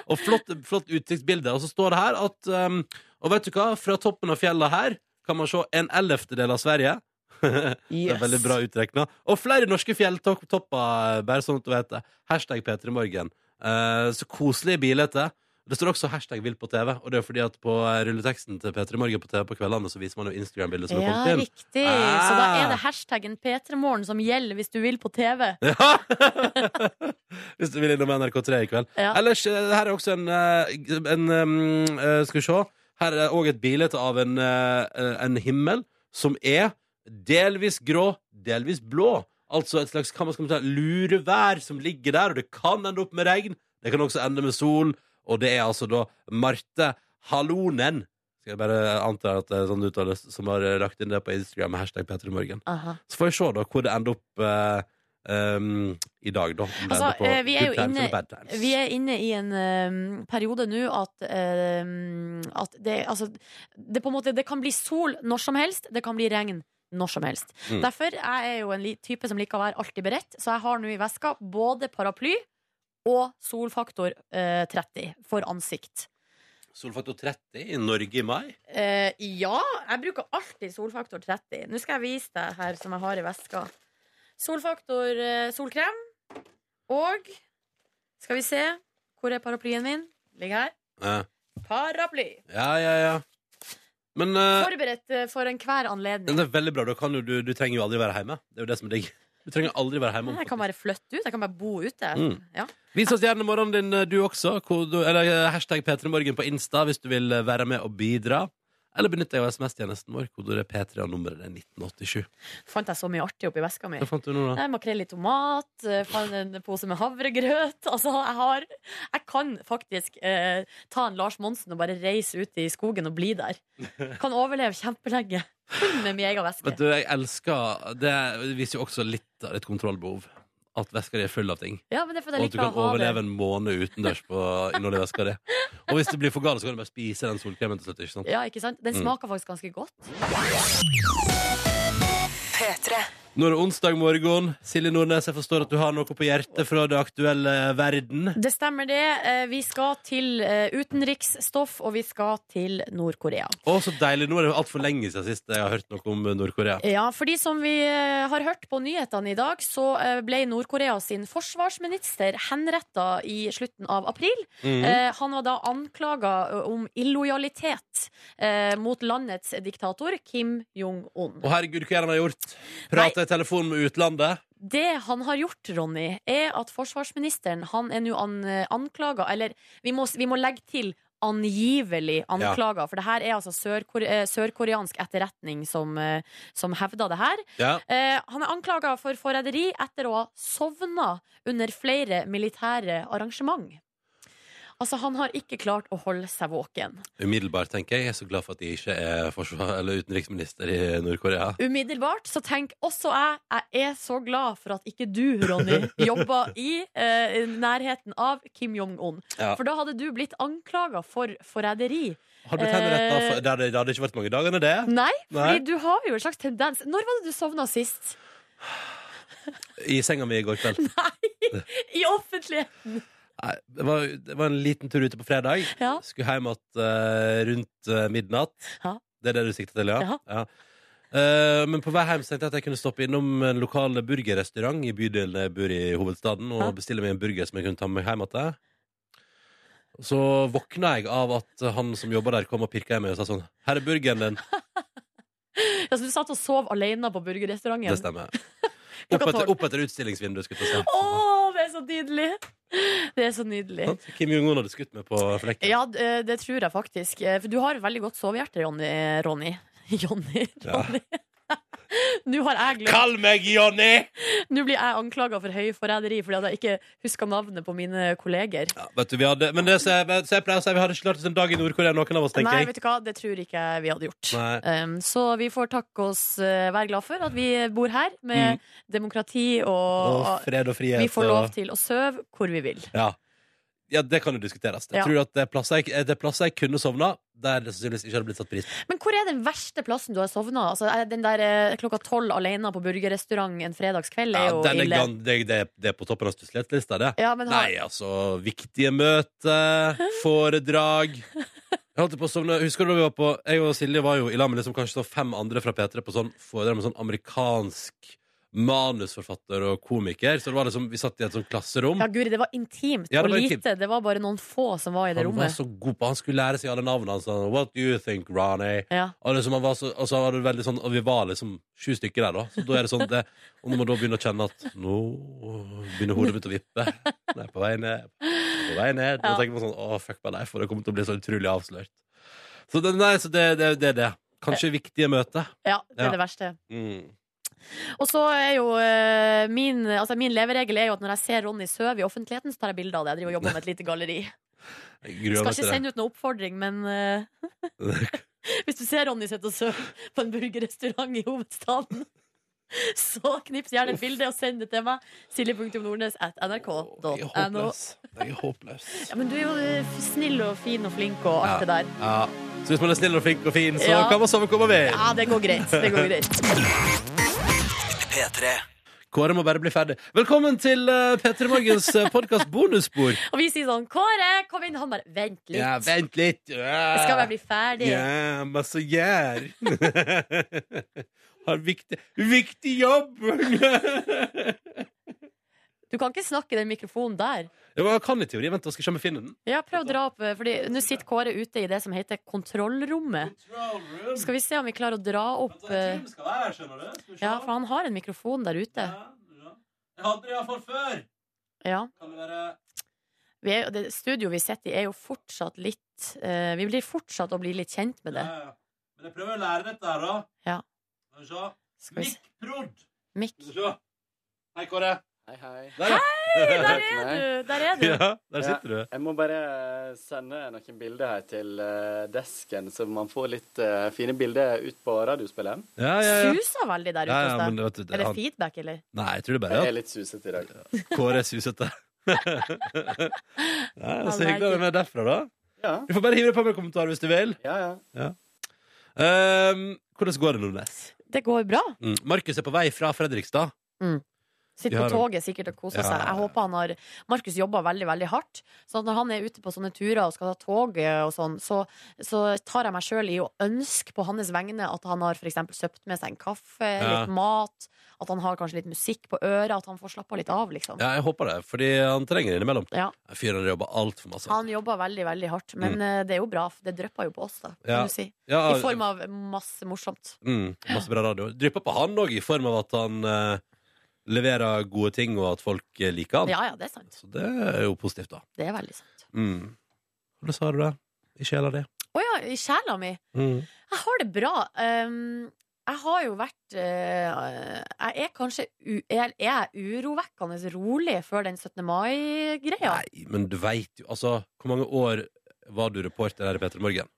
ok. Og flott, flott utsiktsbilde. Og så står det her at um, Og vet du hva? Fra toppen av fjellet her kan man se en ellevtedel av Sverige. Det er
Yes.
veldig bra utrekna. Og flere norske fjelltopper, bare sånn at du vet det. Hashtag P3morgen. Eh, så koselig bilete. Det står også hashtag vill på TV, og det er fordi at på eh, rulleteksten til P3 Morgen på TV på kveldene så viser man jo Instagram-bildet som er
Ja,
kommet inn.
riktig.
Ah.
Så da er det hashtaggen P3morgen som gjelder hvis du vil på TV.
Hvis du vil innom NRK3 i kveld.
Ja.
Ellers, eh, her er også en, eh, en um, eh, Skal vi se. Her er òg et bilde av en, eh, en himmel som er delvis grå, delvis blå. Altså et slags hva man skal man si, lurevær som ligger der, og det kan ende opp med regn. Det kan også ende med sol, og det er altså da Marte Halonen. Skal jeg bare anta at det er sånn det uttales, som har eh, lagt inn det på Instagram med hashtag Petremorgen.
Aha.
Så får vi se da hvor det ender opp eh, um, i dag, da. Om det
Altså,
ender på
eh, vi er jo
good times
inne,
eller bad times.
vi er inne i en eh, periode nå at, eh, at det, altså, det, på en måte, det kan bli sol når som helst, det kan bli regn når som helst.
Mm.
Derfor jeg er jo en li- type som liker å være alltid beredt, så jeg har nå i veska både paraply og solfaktor eh, 30 for ansikt.
Solfaktor 30 i Norge i mai.
Eh, ja, jeg bruker alltid solfaktor 30. Nå skal jeg vise deg her som jeg har i veska. Solfaktor eh, solkrem. Og skal vi se Hvor er paraplyen min? Ligger her.
Eh,
Paraply.
ja, ja, ja. Men eh,
Forberedt eh, for enhver anledning.
det er veldig bra. Da kan jo du, du trenger jo aldri være hjemme. Det er jo det som er digg. Du trenger aldri være hjemme.
Jeg kan bare flytte ut. Jeg kan bare bo ute.
Mm.
Ja.
Vis oss gjerne morgenen din, eh, du også. Hvor du, eller eh, hashtag P3morgen på Insta hvis du vil eh, være med og bidra. Eller benytt deg av SMS-tjenesten vår. Kodeordet P3 og nummeret er 1987.
Fant jeg så mye artig oppi veska mi.
Hva fant du nå, da?
Nei, Makrell i tomat, eh, fant en pose med havregrøt. Altså, jeg har Jeg kan faktisk eh, ta en Lars Monsen og bare reise ut i skogen og bli der. Kan overleve kjempelenge med min egen veske.
Vet du, jeg elsker Det viser jo også litt av ditt kontrollbehov. At veska di er full av ting.
Ja, men det er fordi
og
jeg
at du
liker å
kan
ha
overleve
det.
en måned utendørs på innholdet i veska di. Og hvis det blir for galt, så kan du bare spise den solkremen til slutt. ikke sant?
Ja, ikke sant? Den
Mm.
smaker faktisk ganske godt.
Nå er det onsdag morgen. Silje Nordnes, jeg forstår at du har noe på hjertet fra det aktuelle verden.
Det stemmer, det. Eh, Vi skal til eh, utenriksstoff, og vi skal til Nord-Korea.
Å, så deilig. Nå er det altfor lenge siden sist jeg har hørt noe om Nord-Korea.
Ja, fordi som vi eh, har hørt på nyhetene i dag, så eh, ble Nord-Korea sin forsvarsminister henretta i slutten av april.
Mhm.
Eh, Han var da anklaga eh, om illojalitet eh, mot landets diktator Kim Jong-un.
Å, herregud, hva er det han har gjort? Prata i telefon med utlandet?
Det han har gjort, Ronny, er at forsvarsministeren han er nå an, anklaga Eller vi må, vi må legge til angivelig anklaga, for det her er altså sørkore- eh, sørkoreansk etterretning som, eh, som hevder det her.
Ja.
Eh, han er anklaga for forræderi etter å ha sovna under flere militære arrangement. Altså, han har ikke klart å holde seg våken.
Umiddelbart, tenker jeg. Jeg er så glad for at jeg ikke er forsvar eller utenriksminister i Nord-Korea.
Umiddelbart så tenk også jeg Jeg er så glad for at ikke du, Ronny, jobba i eh, nærheten av Kim Jong-un.
Ja.
For da hadde du blitt anklaga for forræderi.
Har du blitt henrettet
Eh,
for- Det hadde, det hadde ikke vært mange dagene, det.
Nei,
Nei.
fordi du har jo en slags tendens Når var det du sovna sist?
I senga mi i går kveld.
I offentligheten!
Nei, det var, det var en liten tur ute på fredag.
Ja.
Skulle hjem igjen eh, rundt eh, midnatt.
Ja.
Det er det du sikter til, ja?
Ja.
Ja. Eh, men på vei hjem så tenkte jeg at jeg kunne stoppe innom en lokal burgerrestaurant i bydelen jeg bor i hovedstaden, og bestille meg en burger som jeg kunne ta med meg hjem igjen. Så våkna jeg av at han som jobba der, kom og pirka i meg og sa sånn Her er burgeren din.
Altså, du satt og sov alene på burgerrestauranten.
Det stemmer. Opp etter, opp etter utstillingsvinduet, skulle jeg til
Å, det er så nydelig! Det er så nydelig.
å si. Sant? Kim Jong-un hadde skutt meg på flekken.
Ja, d- eh, det tror jeg faktisk. Eh, For du har veldig godt sovehjerte, Ronny. Ronny. Jonny.
Ja.
Nå har jeg glemt
Kall meg Jonny!
Nå blir jeg anklaga for høyforræderi fordi at jeg ikke husker navnet på mine kolleger.
Vet du, vi hadde, men det, så jeg, så jeg pleier å si vi hadde ikke lært oss en dag i Nord-Korea, noen av oss, tenker
Nei,
jeg.
vet du hva, det tror ikke jeg vi hadde gjort.
Nei.
Um, så vi får takke oss, eh, være glad for at vi bor her med
Mm.
demokrati og,
Og fred og frihet
Vi får lov
og-
til å sove hvor vi vil.
Ja. ja, det kan jo diskuteres. Jeg
Ja.
tror at det er plasser jeg, det er plasser jeg kunne sovna, der det sannsynligvis ikke hadde blitt satt pris på.
Men hvor er den verste plassen du har sovna? Altså, er den der eh, klokka tolv alene på burgerrestaurant en fredagskveld er
Ja,
jo
den er
ille.
gan- det, det, det er på toppen av stusslighetslista, det.
Ja, men har-
Nei, altså Viktige møter, foredrag Jeg holdt på å sovne. Husker du da vi var på Jeg og Silje var jo i lag med liksom kanskje sånn fem andre fra P3 på sånn foredrag med sånn amerikansk manusforfatter og komiker. Så det var liksom, vi satt i et sånt klasserom.
Ja, Guri, det var intimt
Ja, det var
og lite.
intimt.
Det var bare noen få som var i det
Han var
rommet.
så god på Han skulle lære seg alle navnene. Han sa, What do you think, Ronny?
Ja.
Og, liksom, han var så, og så var det veldig sånn Og vi var liksom sju stykker der, da. Så da er det sånn det, Og når man da begynner å kjenne at Nå begynner hodet mitt å vippe. Nå er jeg på vei ned. På vei ned. Da
Ja.
tenker man sånn Å, fuck meg, nei, for det kommer til å bli så utrolig avslørt. Så det, nei, så det, det, det er det. Kanskje viktige møter.
Ja, det
Ja.
er det verste.
Mm.
Og så er jo eh, min, altså min leveregel er jo at når jeg ser Ronny sove i offentligheten, så tar jeg bilde av det. Jeg driver og jobber med et lite galleri.
Jeg
Jeg
gruer
skal
meg
ikke
til det.
sende ut noen oppfordring, men eh, hvis du ser Ronny sitte og sove på en burgerrestaurant i hovedstaden, så knips gjerne et bilde og send det til meg. Silje.nordnes at nrk.no.
Jeg er håpløs. Jeg er håpløs.
Ja, men du er jo eh, snill og fin og flink og alt det der.
Ja. Så hvis man er snill og flink og fin, så
Ja.
kan man sove hvor man vil.
Ja, det går greit. Det går greit.
P3.
Kåre må bare bli ferdig. Velkommen til eh, P3 Morgens eh, podcast bonusspor.
Og vi sier sånn Kåre, kom inn. Han bare Vent litt.
Ja, vent litt.
Jeg skal bare bli ferdig.
Ja, masse gjær. Har viktig, viktig jobb!
Du kan ikke snakke i den mikrofonen der.
Jo, jeg kan i teori. Vent, da skal jeg se om jeg finner den.
Ja, prøv å dra opp, eh, fordi nå sitter Kåre ute i det som heter kontrollrommet. Skal vi se om vi klarer å dra opp eh,
skal være her, skjønner du. Skal vi se.
Ja, for han har en mikrofon der ute.
Jeg hadde det iallfall før.
Ja.
Kan det være
Vi er, jo- det studioet vi sitter i, er jo fortsatt litt eh, Vi blir fortsatt å bli litt kjent med det.
Ja, ja. Men jeg prøver å lære dette her, da.
Ja.
Skal vi se.
Skal vi se.
Mikprod.
Mikk.
Skal vi se. Hei, Kåre.
Hei, hei.
Der, ja.
Hei, der er du! Der er du.
Ja, der sitter du.
Jeg må bare eh, sende noen bilder her til eh, desken, så man får litt eh, fine bilder ut på radiospillet.
Ja, ja, ja.
Susa veldig der ute
Ja, ja,
hos
men
deg.
vet du, det-
Er det
han-
feedback, eller?
Nei, jeg tror det bare
Jeg
er
er litt susete i dag.
at Kåre er susete. ja,
Han
så hyggelig
liker.
å være med derfra, da.
Ja.
Du får bare hive deg på med kommentarer hvis du vil.
Ja, ja.
Ehm, hvordan går det, Nordnes?
Det går bra.
Mm. Markus er på vei fra Fredrikstad.
Sitter
Vi
på
har-
toget sikkert og koser
Ja.
seg. Jeg håper han har Markus jobber veldig veldig hardt. Så at når han er ute på sånne turer og skal ta toget og sånn, så, så tar jeg meg sjøl i å ønske på hans vegne at han har for eksempel søpt med seg en kaffe,
Ja.
litt mat, at han har kanskje litt musikk på øret, at han får slappa litt av, liksom.
Ja, jeg håper det, fordi han trenger det innimellom.
Ja.
Fyren jobber altfor masse.
Han jobber veldig veldig hardt, men
Mm.
eh, det er jo bra. for Det drypper jo på oss, da, kan
Ja.
du si.
Ja,
I form av masse morsomt.
Mm, masse bra radio. Drypper på han òg, i form av at han eh, leverer gode ting, og at folk eh, liker han.
Ja ja, det er sant.
Så det er jo positivt, da.
Det er veldig sant.
Mm. Hvordan har du det i sjela di?
Å ja, i sjela mi.
Mm.
Jeg har det bra. Um, jeg har jo vært eh, Jeg er kanskje u er, er jeg urovekkende rolig før den 17. mai-greia.
Men du veit jo Altså, hvor mange år var du reporter her i P3 Morgen?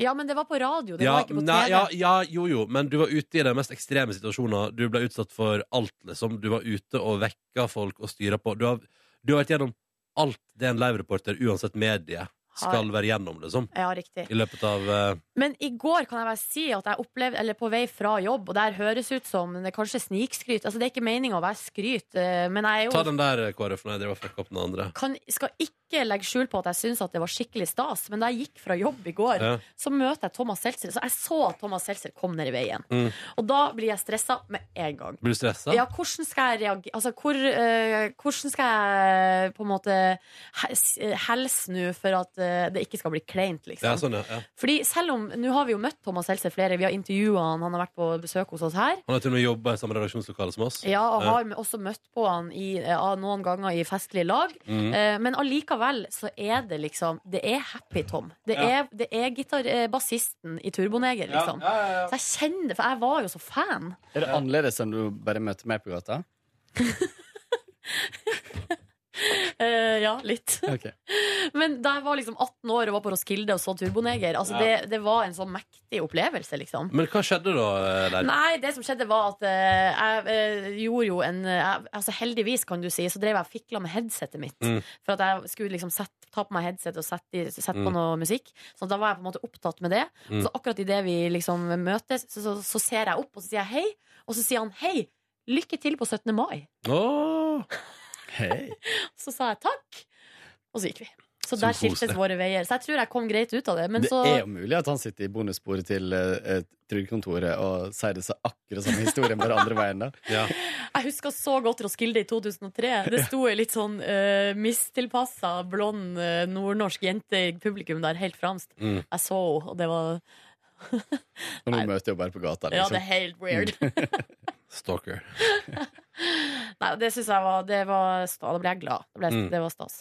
Ja, men det var på radio, det var ikke på TV.
nei, ja, ja, jo, jo, men du var ute i de mest ekstreme situasjoner. Du ble utsatt for alt, liksom. Du var ute og vekka folk og styra på. Du har, du har vært gjennom alt det en livereporter, uansett medie, skal være gjennom, liksom.
Ja, riktig.
I løpet av eh,
Men i går kan jeg bare si at jeg opplevde, eller på vei fra jobb, og det her høres ut som det er kanskje snikskryt. Altså, det er ikke meninga å være skryt, eh, men jeg er jo
Ta den der, eh, KrF, når jeg driver og fucker opp den andre.
kan, skal ikke legge skjul på at jeg syns at det var skikkelig stas, men da jeg gikk fra jobb i går,
Ja.
så møter jeg Thomas Seltzer. Så jeg så at Thomas Seltzer kom ned i veien.
Mm.
Og da blir jeg stressa med en gang.
Blir du stressa?
Ja, hvordan skal jeg reagere Altså, hvor, eh, hvordan skal jeg på en måte he- s- helse nå for at eh, det ikke skal bli kleint, liksom?
Ja, sånn, ja. ja.
Fordi selv om, Nå har vi jo møtt Thomas Seltzer flere, vi har intervjua han, han har vært på besøk hos oss her.
Han har til og med jobba i samme redaksjonslokale som oss.
Ja, og har også møtt på han i, eh, noen ganger i festlige lag.
Mhm.
Eh, men allikevel så er det liksom Det er Happy Tom. Det
Ja.
er, det er gitar, eh, bassisten i Turboneger,
Ja,
liksom.
ja, ja, ja.
Så jeg kjenner det, for jeg var jo så fan.
Er det annerledes enn du bare møter meg på gata?
Eh, ja, litt.
Ok.
Men da jeg var liksom 18 år og var på Roskilde og så Turboneger, altså
Ja.
det, det var en sånn mektig opplevelse, liksom.
Men hva skjedde da eh, der?
Nei, det som skjedde var at eh, jeg eh, gjorde jo en jeg, Altså Heldigvis, kan du si, så drev jeg og fikla med headsetet mitt.
Mm.
For at jeg skulle liksom sette, ta på meg headset og sette, i- sette på
Mm.
noe musikk. Så da var jeg på en måte opptatt med det.
Mm.
Og så akkurat idet vi liksom møtes, så, så, så ser jeg opp, og så sier jeg hei. Og så sier han hei, lykke til på 17. mai.
Åh.
Så sa jeg takk, og så gikk vi. Så,
Så
der
koselig.
skiltes våre veier. Så jeg tror jeg kom greit ut av det. Men
det
så
er jo mulig at han sitter i bonussporet til eh, eh, trygdekontoret og sier det så akkurat samme historien, bare andre veien, da.
Jeg husker så godt Roskilde i 2003. Det sto ei litt sånn uh, mistilpassa blond eh, nordnorsk jente i publikum der helt fremst.
Mm.
Jeg så henne, og det var
Og nå møter jeg jo bare på gata. liksom.
Ja, det er helt weird.
Stalker.
Nei, det syns jeg var Det var stas. Da ble jeg glad. Det, ble,
Mm.
det var stas.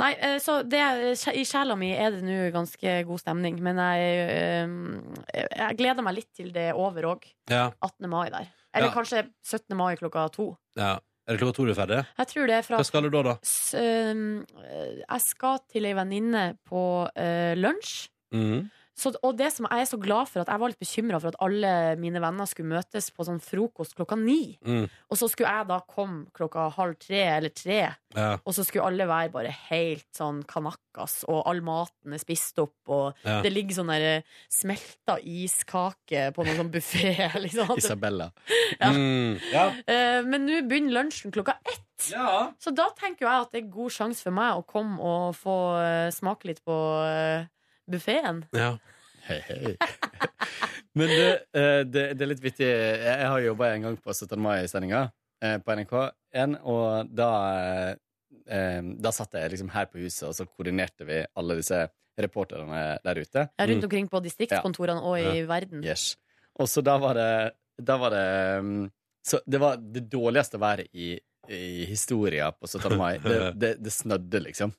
Nei, eh, så det, eh, i sjela mi er det nå ganske god stemning, men jeg, eh, jeg gleder meg litt til det er over òg.
Ja.
18. mai der. Eller
Ja.
kanskje 17. mai klokka to.
ja. Er det klokka to du er ferdig?
Jeg tror det er fra
Hva skal du da, da?
S- øhm, øh, jeg skal til ei venninne på øh, lunsj.
Mm.
Mhm.
Så, og det som jeg er så glad for at jeg var litt bekymra for at alle mine venner skulle møtes på sånn frokost klokka ni.
Mm.
Og så skulle jeg da komme klokka halv tre eller tre,
Ja.
og så skulle alle være bare helt sånn kanakkas, og all maten er spist opp, og
Ja.
det ligger sånn der smelta iskake på noen sånn buffé, liksom.
Isabella.
Ja.
Mm. ja.
Eh, Men nå begynner lunsjen klokka ett. Så da tenker jo jeg at det er god sjanse for meg å komme og få eh, smake litt på uh, buffeen.
Ja.
Hei, hei. Men du, eh, det, det er litt vittig. Jeg, jeg har jobba en gang på 17. mai-sendinga eh, på NRK1, og da eh, eh, Da satt jeg liksom her på huset, og så koordinerte vi alle disse reporterne der ute.
Ja, rundt omkring på distriktskontorene og i
Ja.
verden.
Yes. Og så da var det Da var det mm, Så det var det dårligste været i, i historia på 17. mai. Det, det, det snødde, liksom.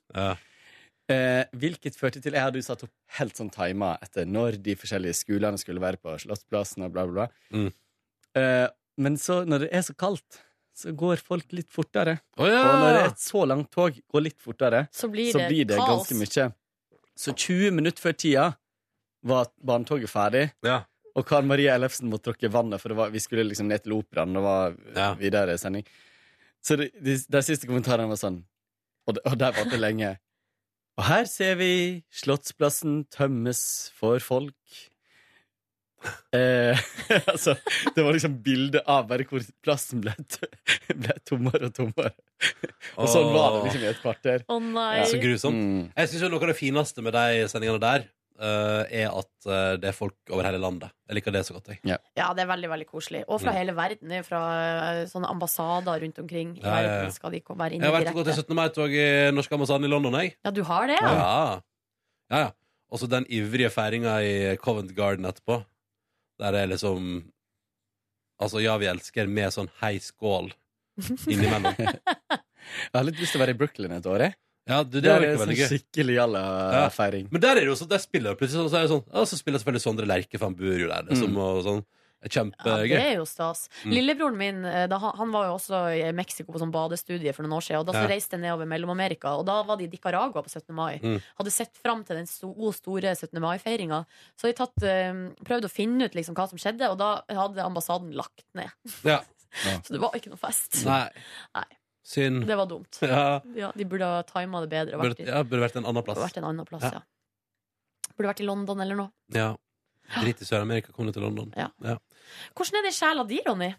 Eh, hvilket førte til Jeg hadde jo satt opp helt sånn timer etter når de forskjellige skolene skulle være på Slottsplassen og bla, bla, bla.
Mm.
Eh, men så, når det er så kaldt, så går folk litt fortere.
Å ja!
Og når det er et så langt tog går litt fortere,
Så blir det kaos.
ganske mye. Så 20 minutter før tida var barnetoget ferdig. Og Karen Marie Ellefsen måtte tråkke vannet, for det var, vi skulle liksom ned til operaen. Det var videre sending. Så de, de, de siste kommentarene var sånn Og, det- og der varte det lenge. Og her ser vi Slottsplassen tømmes for folk. Eh, altså, det var liksom bilde av bare hvor plassen ble, t ble tommere og tommere. Og sånn var det liksom i et kvarter. Mm.
Å nei.
Så grusomt. Jeg syns noe av det fineste med de sendingene der, eh, er at eh, det er folk over hele landet. Jeg liker det så godt, jeg.
Ja, det er veldig veldig koselig. Og fra
Mm.
hele verden. det er Fra eh, sånne ambassader rundt omkring i
Ja, ja, ja.
verden skal de ko- være
Jeg
inne
har vært og gått til
direkte.
17. mai-tog i norske ambassaden i London, jeg.
Ja, du har det,
Ja,
ja?
ja. ja, ja. Og så den ivrige feiringa i Covent Garden etterpå. Der det er liksom Altså, ja, vi elsker med sånn hei, skål innimellom.
Jeg har litt lyst til å være i Brooklyn et år, jeg.
Ja, du, det
Der
virker
er sånn
veldig gøy.
Skikkelig
Ja.
jalla-feiring.
Men der er det jo sånn, der spiller det plutselig sånn, så er det sånn Ja, så spiller selvfølgelig Sondre Lerche, for han bor jo der, liksom,
Mm.
og sånn. Det er
Ja,
Kjempegøy.
det er jo stas.
Mm.
Lillebroren min eh, da, han- han var jo også i Mexico på sånn badestudie for noen år siden. Og da
Ja.
så reiste jeg nedover Mellom-Amerika, og da var de i Nicaragua på 17. mai.
Mm.
Hadde sett fram til den sto, store 17. mai-feiringa. Så hadde de tatt, eh, prøvd å finne ut liksom, hva som skjedde, og da hadde ambassaden lagt ned.
Ja.
Så det var ikke noe fest.
Nei.
Nei.
Synd.
Det var dumt.
Ja.
Ja, de burde ha tima det bedre. og
Burde,
vært i-
ja, burde vært en annen plass.
vært en annen plass, ja. Burde vært i London eller noe.
Ja. Drit i Sør-Amerika, kom deg til London. Ja.
Hvordan er det i sjela di, Ronny?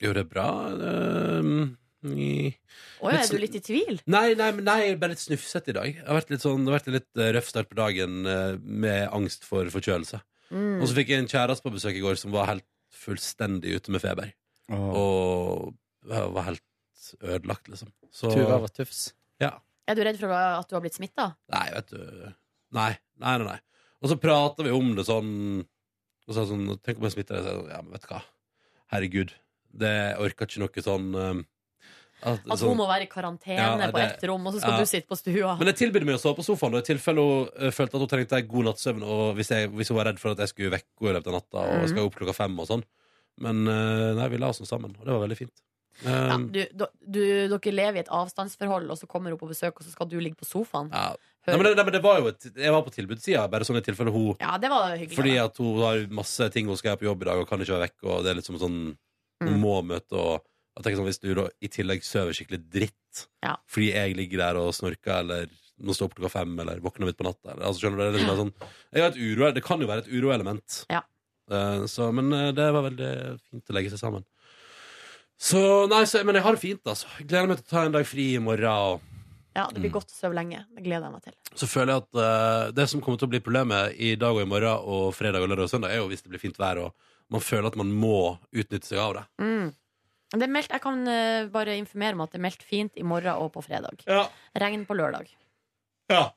Jo, det er bra. Um, i-
Å ja,
Litt
er du
sånn-
litt i tvil?
Nei, nei, men nei, jeg er bare litt snufset i dag. Det har vært litt sånn, det har vært en litt eh, røff start på dagen eh, med angst for forkjølelse.
Mm.
Og så fikk jeg en kjæreste på besøk i går som var helt fullstendig ute med feber. Og jeg var helt ødelagt, liksom. Så-
Tuva var tufs.
Ja.
Er du redd for at du har blitt smitta?
Nei, vet du Nei, nei, nei, nei. Og så prater vi om det sånn Og så er det sånn, tenk om jeg smitter deg Så er det sånn, ja, men vet du hva Herregud, det jeg orker ikke noe sånn um,
At Altså, hun må være i karantene
Ja, nei,
på
det-
ett rom, og så skal
ja.
du sitte på stua?
Men jeg tilbydde meg å sove på sofaen da, I tilfelle hun eh, følte at hun trengte en god nattsøvn Og hvis, jeg, hvis hun var redd for at jeg skulle vekke henne i løpet av natta Og
Mhm.
skal opp klokka fem og sånn Men eh, nei, vi la oss nå sammen Og det var veldig fint
Ja,
um,
du, du, du, dere lever i et avstandsforhold, og så kommer hun på besøk, og så skal du ligge på sofaen?
ja. nei, men, det- nei, men det var jo et, Jeg var på tilbudssida, bare sånn i tilfelle hun
Ja, det var hyggelig.
Fordi at hun har masse ting hun skal gjøre på jobb i dag og kan ikke være vekk. Og det er liksom sånn Hun
Mm.
må møte og jeg tenker sånn, Hvis du da i tillegg sover skikkelig dritt
Ja.
fordi jeg ligger der og snorker eller må stå opp klokka fem eller våkner midt på natta eller, altså, Skjønner du? Det, er liksom bare sånn, jeg har et uro, det kan jo være et uroelement.
Ja.
Eh, så, men eh, det var veldig fint å legge seg sammen. Så nei, så, men jeg har det fint, altså. Jeg Gleder meg til å ta en dag fri i morgen. Og
Ja, det blir
Mm.
godt å sove lenge. Det gleder jeg meg til.
så føler jeg at eh, det som kommer til å bli problemet i dag og i morgen og fredag og lørdag og søndag, er jo hvis det blir fint vær og man føler at man må utnytte seg av det.
Mm. Det er meldt, jeg kan eh, bare informere om at det er meldt fint i morgen og på fredag. Regn på lørdag.
Ja.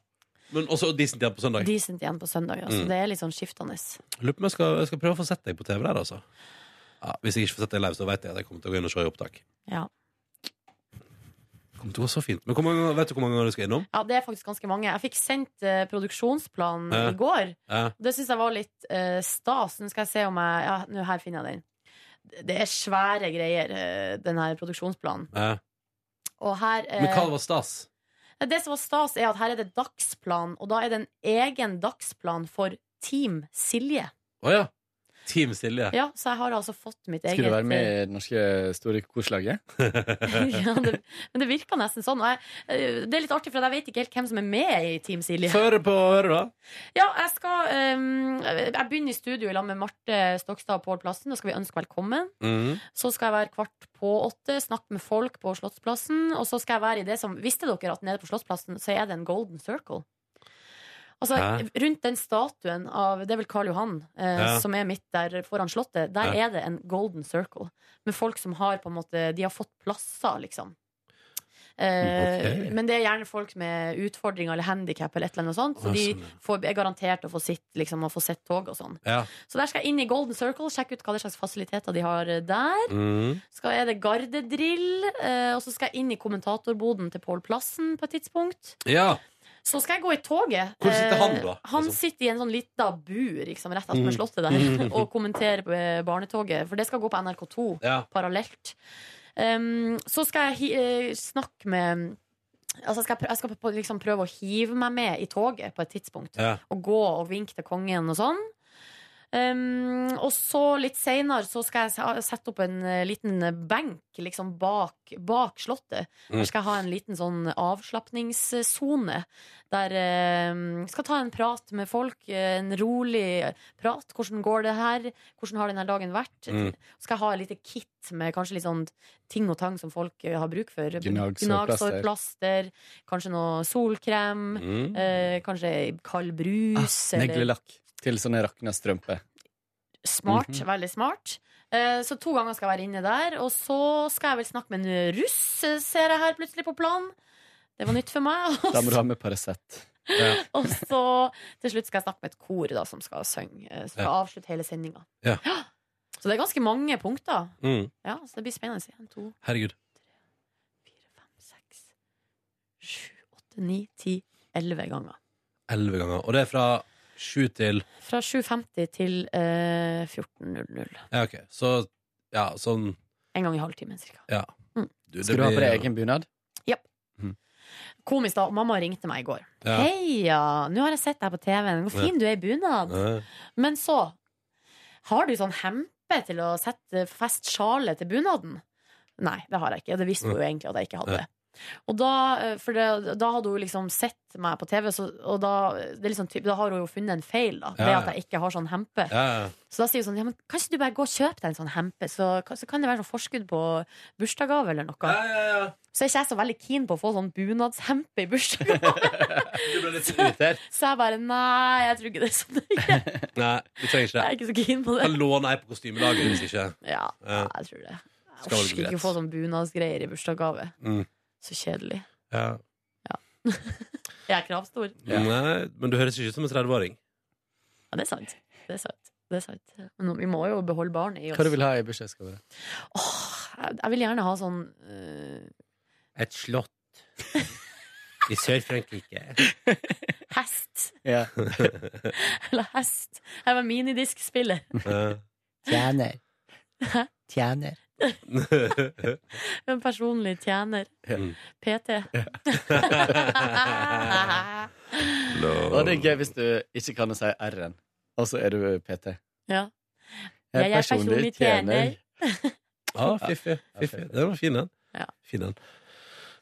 Men også decent igjen på søndag.
Decent igjen på søndag. Altså.
Mm.
Det er litt sånn skiftende.
Lurer på om jeg skal, jeg skal prøve å få sett deg på TV der, altså. Ja, hvis jeg ikke får sett deg live, så vet jeg at jeg kommer til å gå inn og se i opptak.
Ja.
Kommer til å gå så fint. Men hvor mange, ganger- vet du hvor mange ganger du skal innom?
ja, det er faktisk ganske mange. Jeg fikk sendt eh, produksjonsplanen
Ja.
i går.
Ja.
Det syns jeg var litt eh, stas. Nå skal jeg se om jeg Ja, nå her finner jeg den. Det er svære greier, eh, den her produksjonsplanen.
Ja.
Og her eh,
Men hva var stas?
Nei, Det som var stas, er at her er det dagsplan, og da er det en egen dagsplan for Team Silje.
Å ja. Team Silje.
Ja, så jeg har altså fått mitt eget eh,
Skulle du være med i det norske store koslaget?
Ah, ja, det, Men det virker nesten sånn. Og jeg, eh, det er litt artig, for jeg vet ikke helt hvem som er med i Team Silje.
Føre på øret, da.
Ja, jeg skal eh, Jeg begynner i studio i lag med Marte Stokstad og Pål Plassen. Da skal vi ønske velkommen.
Mm,
Så skal jeg være kvart på åtte, snakke med folk på Slottsplassen. Og så skal jeg være i det som Visste dere at nede på Slottsplassen så er det en Golden Circle? Altså,
Hæ?
Rundt den statuen av Det er vel Karl Johan eh,
Ja.
som er midt der foran Slottet. Der
Ja.
er det en Golden Circle med folk som har på en måte De har fått plasser, liksom. Eh,
Ok.
Men det er gjerne folk med utfordringer eller handikap eller et eller annet sånt. Så
Ah,
de
sånn,
får, er garantert å få sitt, liksom, og få sett tog og sånn.
Ja.
Så der skal jeg inn i Golden Circle, sjekke ut hva slags fasiliteter de har eh, der.
Mm.
Skal, er det gardedrill, eh, og så skal jeg inn i kommentatorboden til Pål Plassen på et tidspunkt.
Ja.
Så skal jeg gå i toget.
Hvor sitter han
Eh,
da,
Han
liksom?
sitter i en sånn lita bur liksom, rett attmed
Mm.
slottet der og kommenterer på eh, barnetoget, for det skal gå på NRK2
Ja.
parallelt. Um, så skal jeg hi eh, snakke med Altså jeg skal, pr- jeg skal på, liksom prøve å hive meg med i toget på et tidspunkt.
Ja.
Og gå og vinke til kongen og sånn. Um, og så litt seinere så skal jeg se- sette opp en eh, liten benk liksom bak, bak slottet.
Mm.
Der skal jeg ha en liten sånn avslapningssone. Der um, skal ta en prat med folk. eh, En rolig prat. Hvordan går det her? Hvordan har denne dagen vært?
Mm.
Skal jeg ha et lite kit med kanskje litt sånn ting og tang som folk eh, har bruk for.
Gnagsår, plaster.
plaster. Kanskje noe solkrem.
Mm.
Eh, kanskje kald brus. eller-
Neglelakk Ah, til sånne rakna strømper.
Smart,
Mhm.
veldig smart. Eh, Så to ganger skal jeg være inne der. Og så skal jeg vel snakke med en russ, eh, ser jeg her plutselig på planen. Det var nytt for meg. Og
Da må du
så,
ha med Paracet.
og så til slutt skal jeg snakke med et kor da, som skal synge. eh, Som skal
Ja.
avslutte hele sendinga.
Ja.
Så det er ganske mange punkter.
Mm.
Ja, så det blir spennende. En, to,
Herregud.
åtte, ni, ti, elleve ganger.
Elleve ganger. Og det er fra sju til
Fra 7.50 til eh, 14.00.
Ja, OK. Så ja, sånn
En gang i halvtimen, cirka.
Ja.
Mm.
det
Skal du ha på
blir-
deg egen bunad?
Komisk, da. Mamma ringte meg i går.
Ja.
Heia! Nå har jeg sett deg på TV-en. Hvor
Ja.
fin du er i bunad. Men så har du sånn hempe til å sette fest sjalet til bunaden. Nei, det har jeg ikke. Det visste hun jo egentlig at jeg ikke hadde. Og da, eh, for det, da hadde hun liksom sett meg på TV, så, og da, det er liksom, typ- da har hun jo funnet en feil, da, ved
Ja, ja.
at jeg ikke har sånn hempe.
Ja, ja.
Så da sier hun sånn, ja, men kan ikke du bare gå og kjøpe deg en sånn hempe, så, så kan det være sånn forskudd på bursdagsgave eller noe. Så er ikke jeg så veldig keen på å få sånn bunadshempe i bursdagsgave.
Du ble litt irritert.
Så jeg bare, nei, jeg tror ikke det er sånn.
Nei, du trenger ikke det.
Jeg er ikke så keen på det.
Kan låne ei på kostymelaget hvis ikke.
Ja,
jeg
tror det. Jeg orker ikke å få sånn bunadsgreier i bursdagsgave.
Mm.
Så kjedelig.
Ja.
Jeg er kravstor.
Nei, men du høres ikke ut som en 30-åring.
Ja, det er sant. Det er sant. Det er sant. Men vi må jo beholde barnet i oss.
Hva du vil ha i bursdagsgave?
Jeg jeg vil gjerne ha sånn eh,
Et slott i Sør-Frankrike.
hest.
Ja.
Eller hest. Jeg var minidiskspiller.
Tjener.
Hæ?
Tjener.
En personlig tjener. PT.
Og det er gøy hvis du ikke kan å si R-en, og så er du PT.
ja. Jeg er personlig tjener.
Ja, fiffig. fiffig. Den var fin, den.
Ja.
Fin, den.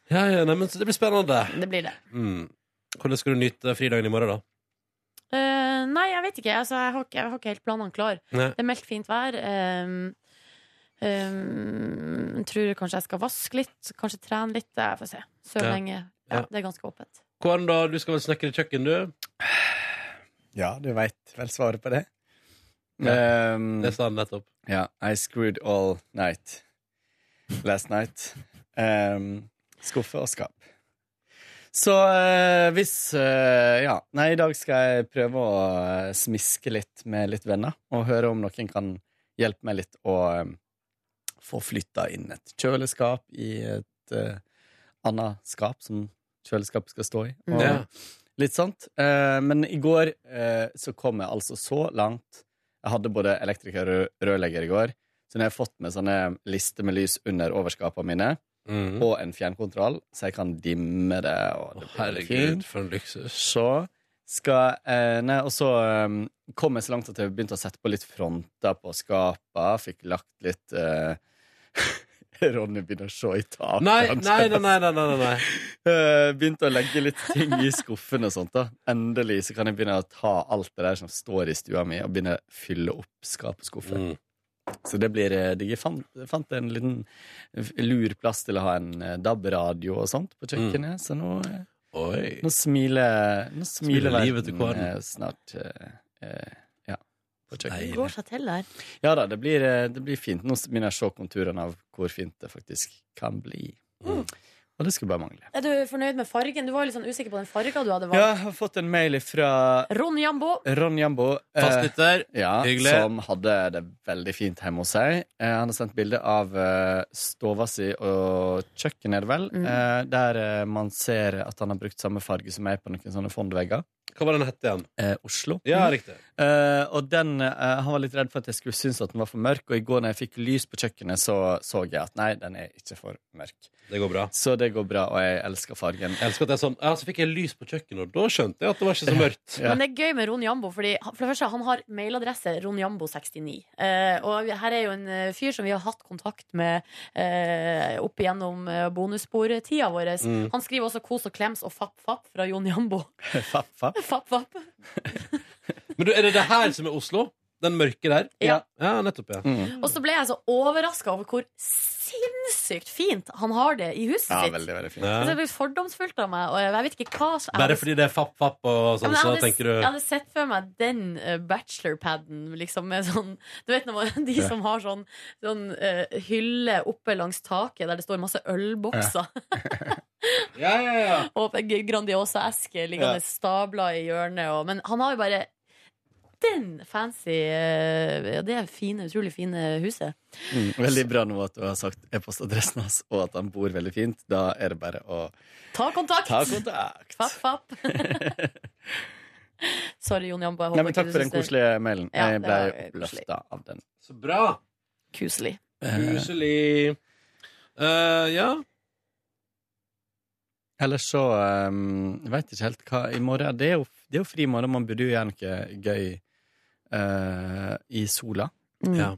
Ja, ja, nei, men så det blir spennende.
Det blir det.
Mm. Hvordan skal du nyte fridagen i morgen, da?
Eh, nei, jeg vet ikke. Altså, jeg, har ikke jeg har ikke helt planene klar.
Nei.
Det er meldt fint vær. Um, um, tror kanskje jeg skal vaske litt, kanskje trene litt. Jeg får se. Sove
Ja.
lenge.
Ja.
Ja, det er ganske åpent.
Kåren, da? Du skal vel snekre kjøkken, du?
Ja, du veit vel svaret på det.
Ja,
det
sa han nettopp.
Um, Ja. I screwed all night last night. Um, skuffe og skap. Så eh, hvis eh, Ja. Nei, i dag skal jeg prøve å eh, smiske litt med litt venner, og høre om noen kan hjelpe meg litt å eh, få flytta inn et kjøleskap i et eh, annet skap som kjøleskapet skal stå i. Og
Ja.
Litt sånt. Eh, men i går eh, så kom jeg altså så langt. Jeg hadde både elektriker og rø- rørlegger i går, så nå har jeg fått med sånne lister med lys under overskapene mine.
Mhm.
Og en fjernkontroll, så jeg kan dimme det. Og det blir
Herregud,
fint.
for en luksus.
Så skal eh, Nei, og så um, kom jeg så langt at jeg begynte å sette på litt fronter på skapa. Fikk lagt litt eh, Ronny begynner å se i taket.
Nei, nei, nei, nei, nei, nei, nei.
Eh, Begynte å legge litt ting i skuffen og sånt. da Endelig så kan jeg begynne å ta alt det der som står i stua mi, og begynne å fylle opp skap og skuffer.
Mm.
Så det blir eh, digg. Jeg fant, jeg fant en liten lur plass til å ha en eh, DAB-radio og sånt på kjøkkenet, så nå eh,
Mm. Oi.
Nå smiler, nå smiler,
Smiler livet til
verden
kåren.
eh, snart. eh, eh, ja, på
Det
kjøkkenet.
går seg til der.
Ja da, det blir, eh, det blir fint. Nå begynner jeg å se konturene av hvor fint det faktisk kan bli.
Mm.
Og det skulle bare mangle.
Er du fornøyd med fargen? Du var jo litt sånn usikker på den farga du hadde
Ja,
valgt.
jeg har fått en mail fra
Ron Jambo.
Ron Jambo. eh,
Fastlytter.
ja,
Hyggelig.
Som hadde det veldig fint hjemme hos seg. Eh, han har sendt bilde av eh, stova si og kjøkkenet, er det vel,
Mm.
eh, der eh, man ser at han har brukt samme farge som meg på noen sånne fondvegger.
Hva var den hette igjen?
Eh, Oslo.
Ja, riktig.
Eh, og den, eh, han var litt redd for at jeg skulle synes at den var for mørk, og i går når jeg fikk lys på kjøkkenet, så så jeg at nei, den er ikke for mørk.
Det går bra.
Så det går bra, og jeg elsker fargen.
Jeg elsker at det er sånn, ja, så fikk jeg lys på kjøkkenet, og da skjønte jeg at det var ikke så mørkt.
Men det er gøy med Ron Jambo, fordi han- for det første, han har mailadresse ronjambo69. Eh, og her er jo en eh, fyr som vi har hatt kontakt med eh, opp igjennom eh, bonussportida vår.
Mm.
Han skriver også 'Kos og klems' og 'Fapp fapp' fra Jon Jambo.
fapp, fapp.
fapp, fapp.
Men du, er det det her som er Oslo? Den mørke der?
Ja.
Ja, nettopp, ja.
Og så ble jeg så overraska over hvor sinnssykt fint han har det i huset
Ja,
sitt.
veldig, veldig fint.
Altså, det ble fordomsfullt av meg, og jeg vet ikke hva som
Bare fordi det er fapp-fapp og
Ja,
sånn,
men jeg
så
hadde-
tenker du
Jeg hadde sett for meg den eh, bachelorpaden, liksom, med sånn Du vet når man, de
Ja.
som har sånn, sånn eh, hylle oppe langs taket der det står masse ølbokser.
Ja, ja, ja.
og g- Grandiosa-esker liggende
Ja.
stabla i hjørnet og Men han har jo bare den fancy eh, Ja, det fine, utrolig fine huset.
Mm, veldig bra nå at du har sagt e-postadressen hans, og at han bor veldig fint. Da er det bare å
Ta kontakt!
Ta kontakt.
Fapp, fapp. Sorry, Jon Jambo. jeg
Nei,
håper
men
ikke
takk
du
for den
synes det-
koselige mailen.
Ja, det
jeg ble
var eh, koselig.
løfta av den.
Så bra!
Kuselig.
Kuselig. Eh, ja.
Ellers så um, jeg vet ikke helt hva i morgen Det er jo, det er jo fri morgen, man burde jo gjøre noe gøy eh, i sola.
Mm. Ja.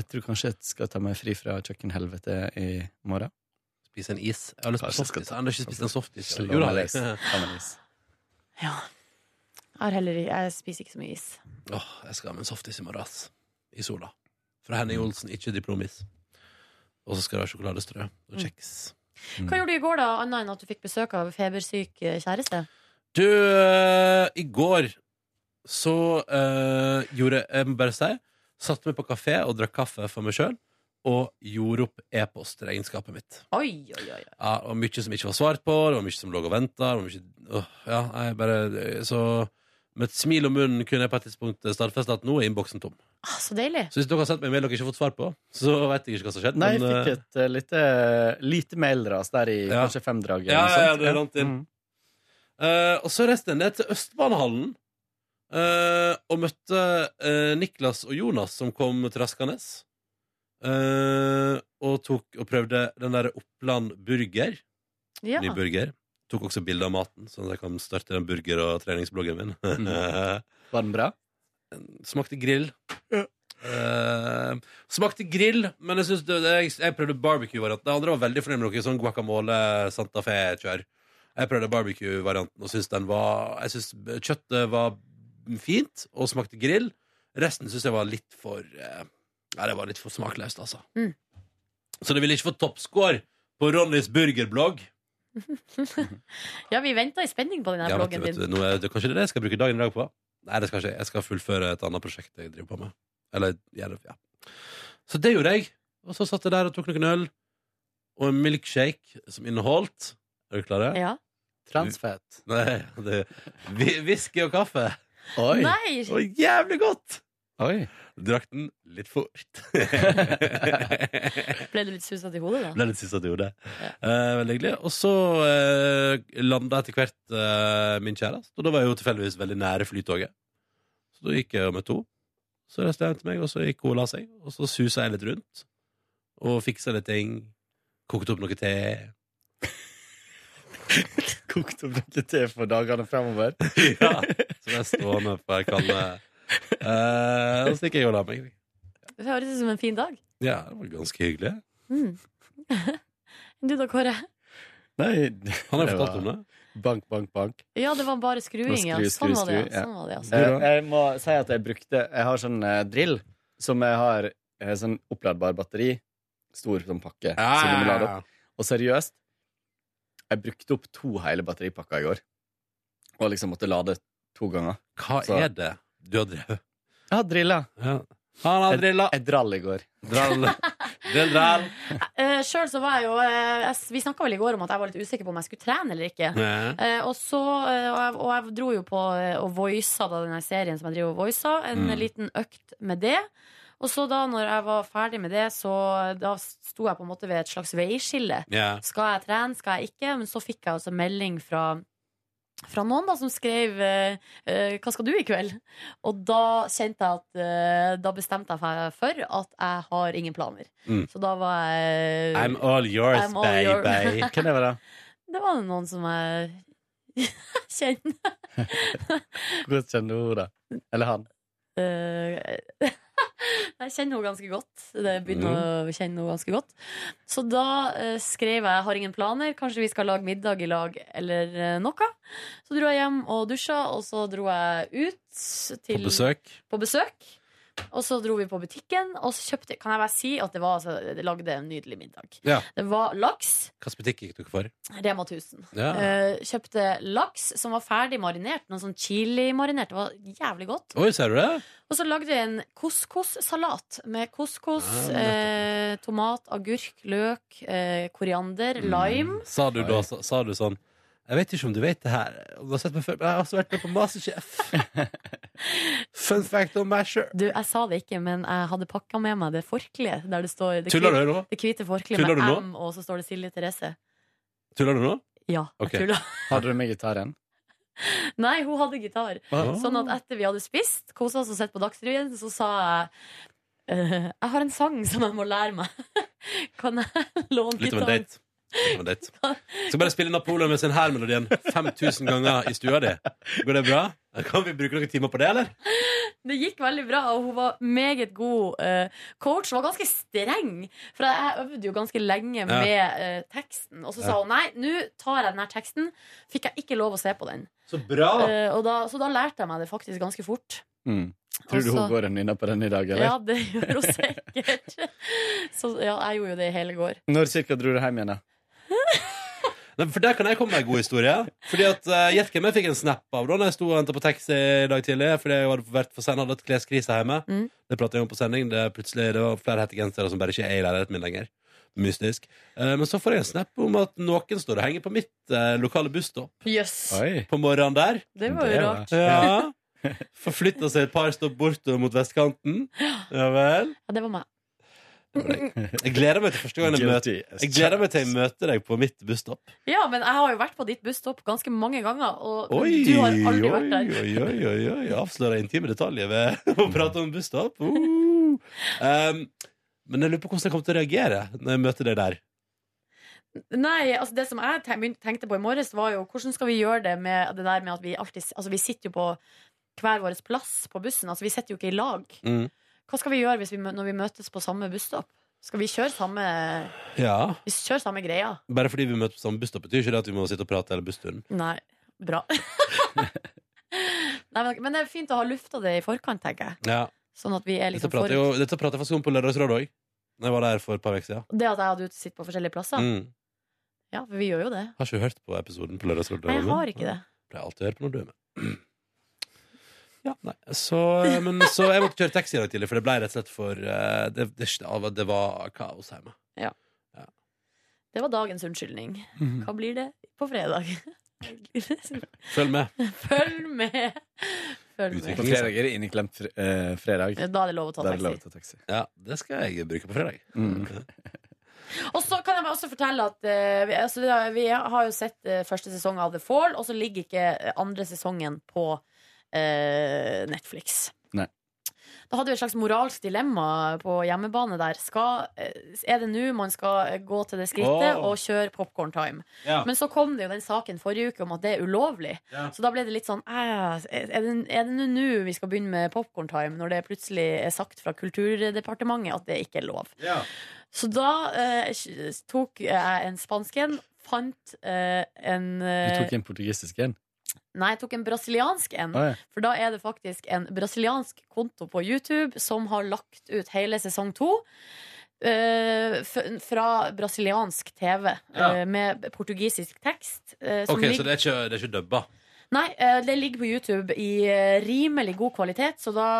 Jeg tror kanskje jeg skal ta meg fri fra kjøkkenhelvete i morgen.
spise en is. Jeg har lyst på
Kanskje jeg
softis.
skal
Jeg har ikke spist en softis.
Slå
Jo da.
meg løs. Ta meg løs.
Jeg, har heller, ikke- jeg spiser ikke så mye is.
Åh, jeg skal ha med en softis i morgen, ass. I sola. Fra Henning
Mm.
Olsen, ikke diplomis. Og så skal det ha sjokoladestrø og kjeks. Mm.
Hva gjorde du i går, da, annet enn at du fikk besøk av febersyk eh, kjæreste?
Du, eh, i går så eh, gjorde jeg må bare si Satt meg på kafé og drakk kaffe for meg sjøl. Og gjorde opp e-postregnskapet mitt.
Oi, oi, oi.
Ja, og mye som ikke var svart på, det var mye som lå og venta. Ja, jeg bare Så med et smil om munnen kunne jeg på et tidspunkt stadfeste at nå er innboksen tom.
Ah, så deilig.
Så hvis dere har sendt meg en mail dere ikke har fått svar på, så vet jeg ikke hva som har skjedd.
Nei, jeg
men,
fikk
eh,
et eh, lite, lite mailras der i
Ja.
kanskje fem drag.
Ja, ja, ja, det rant inn.
Mm.
Eh, og så reiste jeg ned til Østbanehallen eh, og møtte eh, Niklas og Jonas, som kom traskende. eh, og tok og prøvde den derre Oppland burger.
Ja.
Ny burger. Tok også bilde av maten, sånn at jeg kan starte den burger- og treningsbloggen min.
Var den bra?
Smakte grill. Eh, smakte grill, men jeg, synes det, jeg, jeg prøvde barbecue-varianten. De andre var veldig fornøyd med noe sånn guacamole Santa Fe-kjør. Jeg prøvde barbecue-varianten og syns den var Jeg syns kjøttet var fint og smakte grill. Resten syns jeg var litt for eh, Ja, det var litt for smakløst, altså.
Mm.
Så det ville ikke få toppscore på Ronnys burgerblogg.
Ja, vi venta i spenning på den her
Ja, vet du,
bloggen
vet du,
din.
nå er det kanskje det er det jeg skal bruke dagen i dag på? Nei, det skal jeg ikke. Jeg skal fullføre et annet prosjekt jeg driver på med. Eller, ja, det- ja. Så det gjorde jeg. Og så satt jeg der og tok noen øl. Og en milkshake som inneholdt Er du klare?
Ja.
Transfett.
Nei, det vi- Whisky og kaffe.
Oi.
Nei.
Og jævlig godt!
Oi.
Drakk den litt fort.
Ble du litt suset i hodet, da?
Ble litt siste at du gjorde det. Eh, veldig hyggelig. Og så eh, landa etter hvert eh, min kjæreste, og da var jeg jo tilfeldigvis veldig nære flytoget. Så da gikk jeg og møtte henne. Så reiste jeg hjem til meg, og så gikk hun og la seg. Og så susa jeg litt rundt og fiksa litt ting. Kokte opp noe te.
Kokt opp noe te for dagene fremover.
ja, så ble jeg stående på ei kanne. Eh, og så gikk jeg og la meg.
Det høres ut som en fin dag.
Ja, det var ganske hyggelig.
Mm. du da, Kåre?
Nei,
Han har jo
det
fortalt
var-
om det.
Bank, bank, bank.
Ja, det var bare skruing, ja.
Skru, skru,
Sånn var det,
skru,
ja.
ja.
Sånn var det, altså.
Eh, Jeg må si at jeg brukte Jeg har sånn eh, drill som jeg har eh, sånn oppladbar batteri. Stor sånn pakke
Ah,
som du må lade opp. Og seriøst, jeg brukte opp to hele batteripakker i går. Og liksom måtte lade to ganger.
Hva er det du har drevet?
Jeg har drilla.
Han har drilla.
Jeg, jeg drall i går.
Drall. Drill, drall.
Eh, Sjøl så var jeg jo eh, jeg- Vi snakka vel i går om at jeg var litt usikker på om jeg skulle trene eller ikke.
Ja.
Eh, og så eh, og, jeg, og jeg dro jo på eh, og voisa da denne serien som jeg driver og voisa, en
Mm.
liten økt med det. Og så da når jeg var ferdig med det, så da sto jeg på en måte ved et slags veiskille.
Ja.
Skal jeg trene, skal jeg ikke? Men så fikk jeg altså melding fra fra noen da som skrev eh, eh, 'Hva skal du i kveld?' Og da kjente jeg at eh, Da bestemte jeg meg for at jeg har ingen planer.
Mm.
Så da var jeg
I'm all yours,
I'm all your-
baby.
Hvem er det?
Det var noen som jeg kjenner.
Hvordan kjenner du henne? Eller han?
Eh, jeg kjenner henne ganske godt. Det begynner
Mm.
å kjenne henne ganske godt. Så da eh, skrev jeg 'Har ingen planer', kanskje vi skal lage middag i lag, eller eh, noe. Så dro jeg hjem og dusja, og så dro jeg ut til
På besøk.
på besøk. Og så dro vi på butikken, og så kjøpte Kan jeg bare si at det var altså, det lagde en nydelig middag.
Ja.
Det var laks.
Hvilken butikk gikk dere for?
Rema 1000.
Ja.
Eh, kjøpte laks som var ferdig marinert. Noe sånn chili-marinert. Det var jævlig godt.
Oi, ser du det?
Og så lagde jeg en couscous-salat med couscous,
Ja,
eh, tomat, agurk, løk, eh, koriander,
Mm.
lime.
Sa du da sa, sa du sånn Jeg vet ikke om du vet det her, og du har sett meg før, men jeg har også vært med på Masterchef. Fun fact om meg sjøl.
Du, jeg sa det ikke, men jeg hadde pakka med meg det forkleet der det står det,
Tuller
hvite-
du nå?
det hvite
Tuller
forkleet
du
med
nå?
M, og så står det Silje Therese.
Tuller du nå?
Ja, jeg tuller.
Hadde du med gitaren?
Nei, hun hadde gitar.
Ah.
Sånn at etter vi hadde spist, kosa oss og sett på Dagsrevyen, så sa jeg «Eh, Jeg har en sang som jeg må lære meg. Kan jeg låne
Litt av en date.
gitaren?
Litt av en date. Skal bare spille Napoleon med sin hærmelodien 5000 ganger i stua di. Går det bra? Kan vi bruke noen timer på det, eller?
Det gikk veldig bra, og hun var meget god eh, coach. Hun var ganske streng, for jeg øvde jo ganske lenge med eh, teksten. Og så sa
Ja.
hun nei, nå tar jeg den her teksten. Fikk jeg ikke lov å se på den.
Så bra!
Eh, og da, så da lærte jeg meg det faktisk ganske fort.
Mm. Tror du
Og så-
hun går og nynner på den i dag, eller?
Altså. Ja, det gjør hun sikkert. Så ja, jeg gjorde jo det i hele går.
Når cirka dro du hjem igjen, da?
Nei, for der kan jeg komme med en god historie. Fordi at eh, Gjett hvem jeg fikk en snap av da Når jeg sto og hentet på taxi i dag tidlig. Fordi jeg hadde vært for sen, hadde hatt kleskrise hjemme.
Mm.
Det pratet jeg om på sending. Det, er plutselig, det var flere hettegensere som bare ikke er i leiligheten min lenger. Mystisk. Eh, men så får jeg en snap om at noen står og henger på mitt eh, lokale busstopp
Jøss.
på morgenen der.
Det var jo Det var- rart.
Ja. Forflytta seg et par stopp bortover mot vestkanten. Ja vel.
Ja, det var meg.
Jeg gleder meg til første gang jeg møter,
Guilty as
jeg gleder meg til jeg møter deg på mitt busstopp.
Ja, men jeg har jo vært på ditt busstopp ganske mange ganger, og
Oi,
du har
oi,
aldri vært der.
oi, oi, oi, oi. Avslører intime detaljer ved å prate om busstopp. Uh. Um, men jeg lurer på hvordan jeg kommer til å reagere når jeg møter deg der.
Nei, altså det som jeg ten- begynte- tenkte på i morges, var jo hvordan skal vi gjøre det med det der med at vi alltid Altså, vi sitter jo på hver vår plass på bussen. Altså, vi sitter jo ikke i lag.
Mm.
Hva skal vi gjøre hvis vi, mø- når vi møtes på samme busstopp? Skal vi kjøre samme
Ja.
Vi kjører samme greia?
Bare fordi vi møtes på samme busstopp, betyr ikke det at vi må sitte og prate hele bussturen.
Nei. Bra. Nei, men, men det er fint å ha lufta det i forkant, tenker jeg.
Ja.
Sånn at vi er liksom
dette prater jeg jo- dette prater jeg faktisk om på Lørdagsrådet òg, da jeg var der for et par uker siden.
Det at jeg hadde ute sitter på forskjellige plasser.
Mm.
Ja, for vi gjør jo det.
Har ikke du hørt på episoden på Lørdagsrådet?
Nei, jeg har ikke det.
Pleier alltid å høre på når du er med. Ja, nei. Så, eh, men, så jeg måtte kjøre taxi i dag tidlig, for det ble rett og slett for eh, det, det, det var kaos hjemme.
Ja. Det var dagens unnskyldning.
Mhm.
Hva blir det på fredag?
Følg med.
Følg med! Følg
På
med.
fredag er det inneklemt fr eh, fredag.
Da er det lov å ta
Da er det
taxi.
lov å ta taxi.
Ja, det skal jeg bruke på fredag.
Og så kan jeg bare også fortelle at eh, vi, altså, vi har- vi har jo sett eh, første sesong av The Fall, og så ligger ikke eh, andre sesongen på eh, Netflix.
Nei.
Da hadde vi et slags moralsk dilemma på hjemmebane der. Skal, eh, er det nå man skal eh, gå til det skrittet
Åh.
og kjøre popcorn time?
Ja.
Men så kom det jo den saken forrige uke om at det er ulovlig.
Ja.
Så da ble det litt sånn eh, Er det er det nå nå vi skal begynne med popcorn time, når det plutselig er sagt fra Kulturdepartementet at det ikke er lov?
Ja.
Så da eh, s- tok jeg en spansk en, fant eh, en
Du
eh,
tok en portugisisk en?
Nei, jeg tok en brasiliansk en.
Å, ja.
For da er det faktisk en brasiliansk konto på YouTube som har lagt ut hele sesong to. eh, f- fra brasiliansk TV
Ja.
eh, med portugisisk tekst. eh, som
Ok,
ligger-
Så det er ikke, det er ikke dubba?
Nei, eh, det ligger på YouTube i eh, rimelig god kvalitet, så da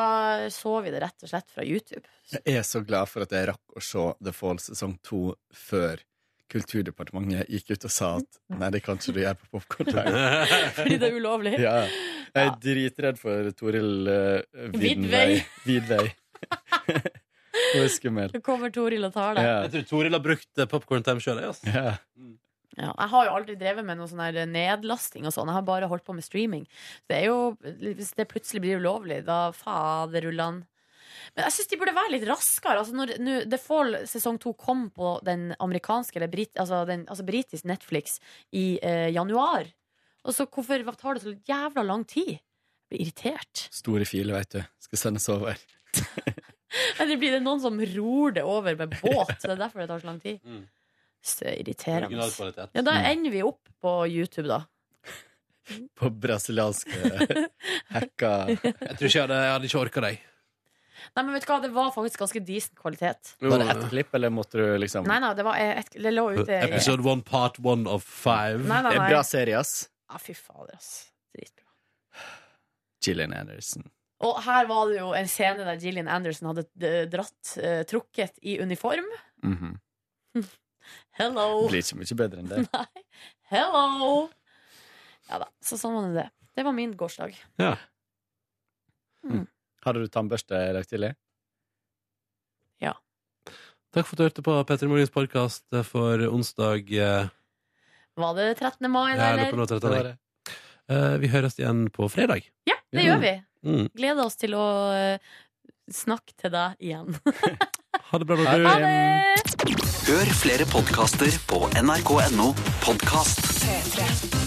så vi det rett og slett fra YouTube.
Jeg er så glad for at jeg rakk å se The Fall sesong to før Kulturdepartementet gikk ut og sa at nei, det kan ikke du gjøre på popkorn.
Fordi det er ulovlig.
Ja. Jeg er dritredd for Toril eh, Vidvei.
Vidvei.
Vidvei. Hun er skummel.
Så kommer Toril og tar det.
Jeg tror Toril har brukt popkorn time altså. sjøl.
Ja.
Ja, jeg har jo aldri drevet med noe sånn her nedlasting og sånn. Jeg har bare holdt på med streaming. Det er jo, Hvis det plutselig blir ulovlig, da faderullan. Men jeg syns de burde være litt raskere. Altså når nå The Fall sesong to kom på den amerikanske eller brit, altså den, altså britisk Netflix i eh, januar, og så hvorfor hva tar det så jævla lang tid? Jeg blir irritert.
Store filer, veit du. Skal sendes over.
Eller blir det noen som ror det over med båt? Det er derfor det tar så lang tid. Så irriterende.
Original kvalitet.
Ja, da
Mm.
ender vi opp på YouTube, da.
På brasilianske hacka
Jeg tror ikke jeg hadde, jeg hadde ikke orka deg.
Nei, men vet du hva, det var faktisk ganske decent kvalitet.
Var det ett klipp, eller måtte du liksom
Nei, nei, det, var et, det lå ute i
Episode one, part one of five.
Nei, nei, nei.
Bra serie, ass.
Ja, fy fader, ass. Dritbra.
Gillian Anderson.
Og her var det jo en scene der Gillian Anderson hadde eh, dratt, eh, trukket i uniform.
Mhm.
Hello!
Blir ikke mye bedre enn det.
Nei. Hello! Ja da, så sånn var det det. Det var min gårsdag.
Ja. Hadde du tannbørste i dag tidlig?
Ja.
Takk for at du hørte på Petter Morgens podkast for onsdag. eh,
Var det 13. mai,
Ja,
da,
jeg lurer på
eller?
noe til dette. Eh, vi høres igjen på fredag.
Ja, det
Ja.
gjør vi.
Mm.
Gleder oss til å eh, snakke til deg igjen.
Ha det bra.
Ha
dere.
det!
Hør flere podkaster på nrk.no podkast.
P3.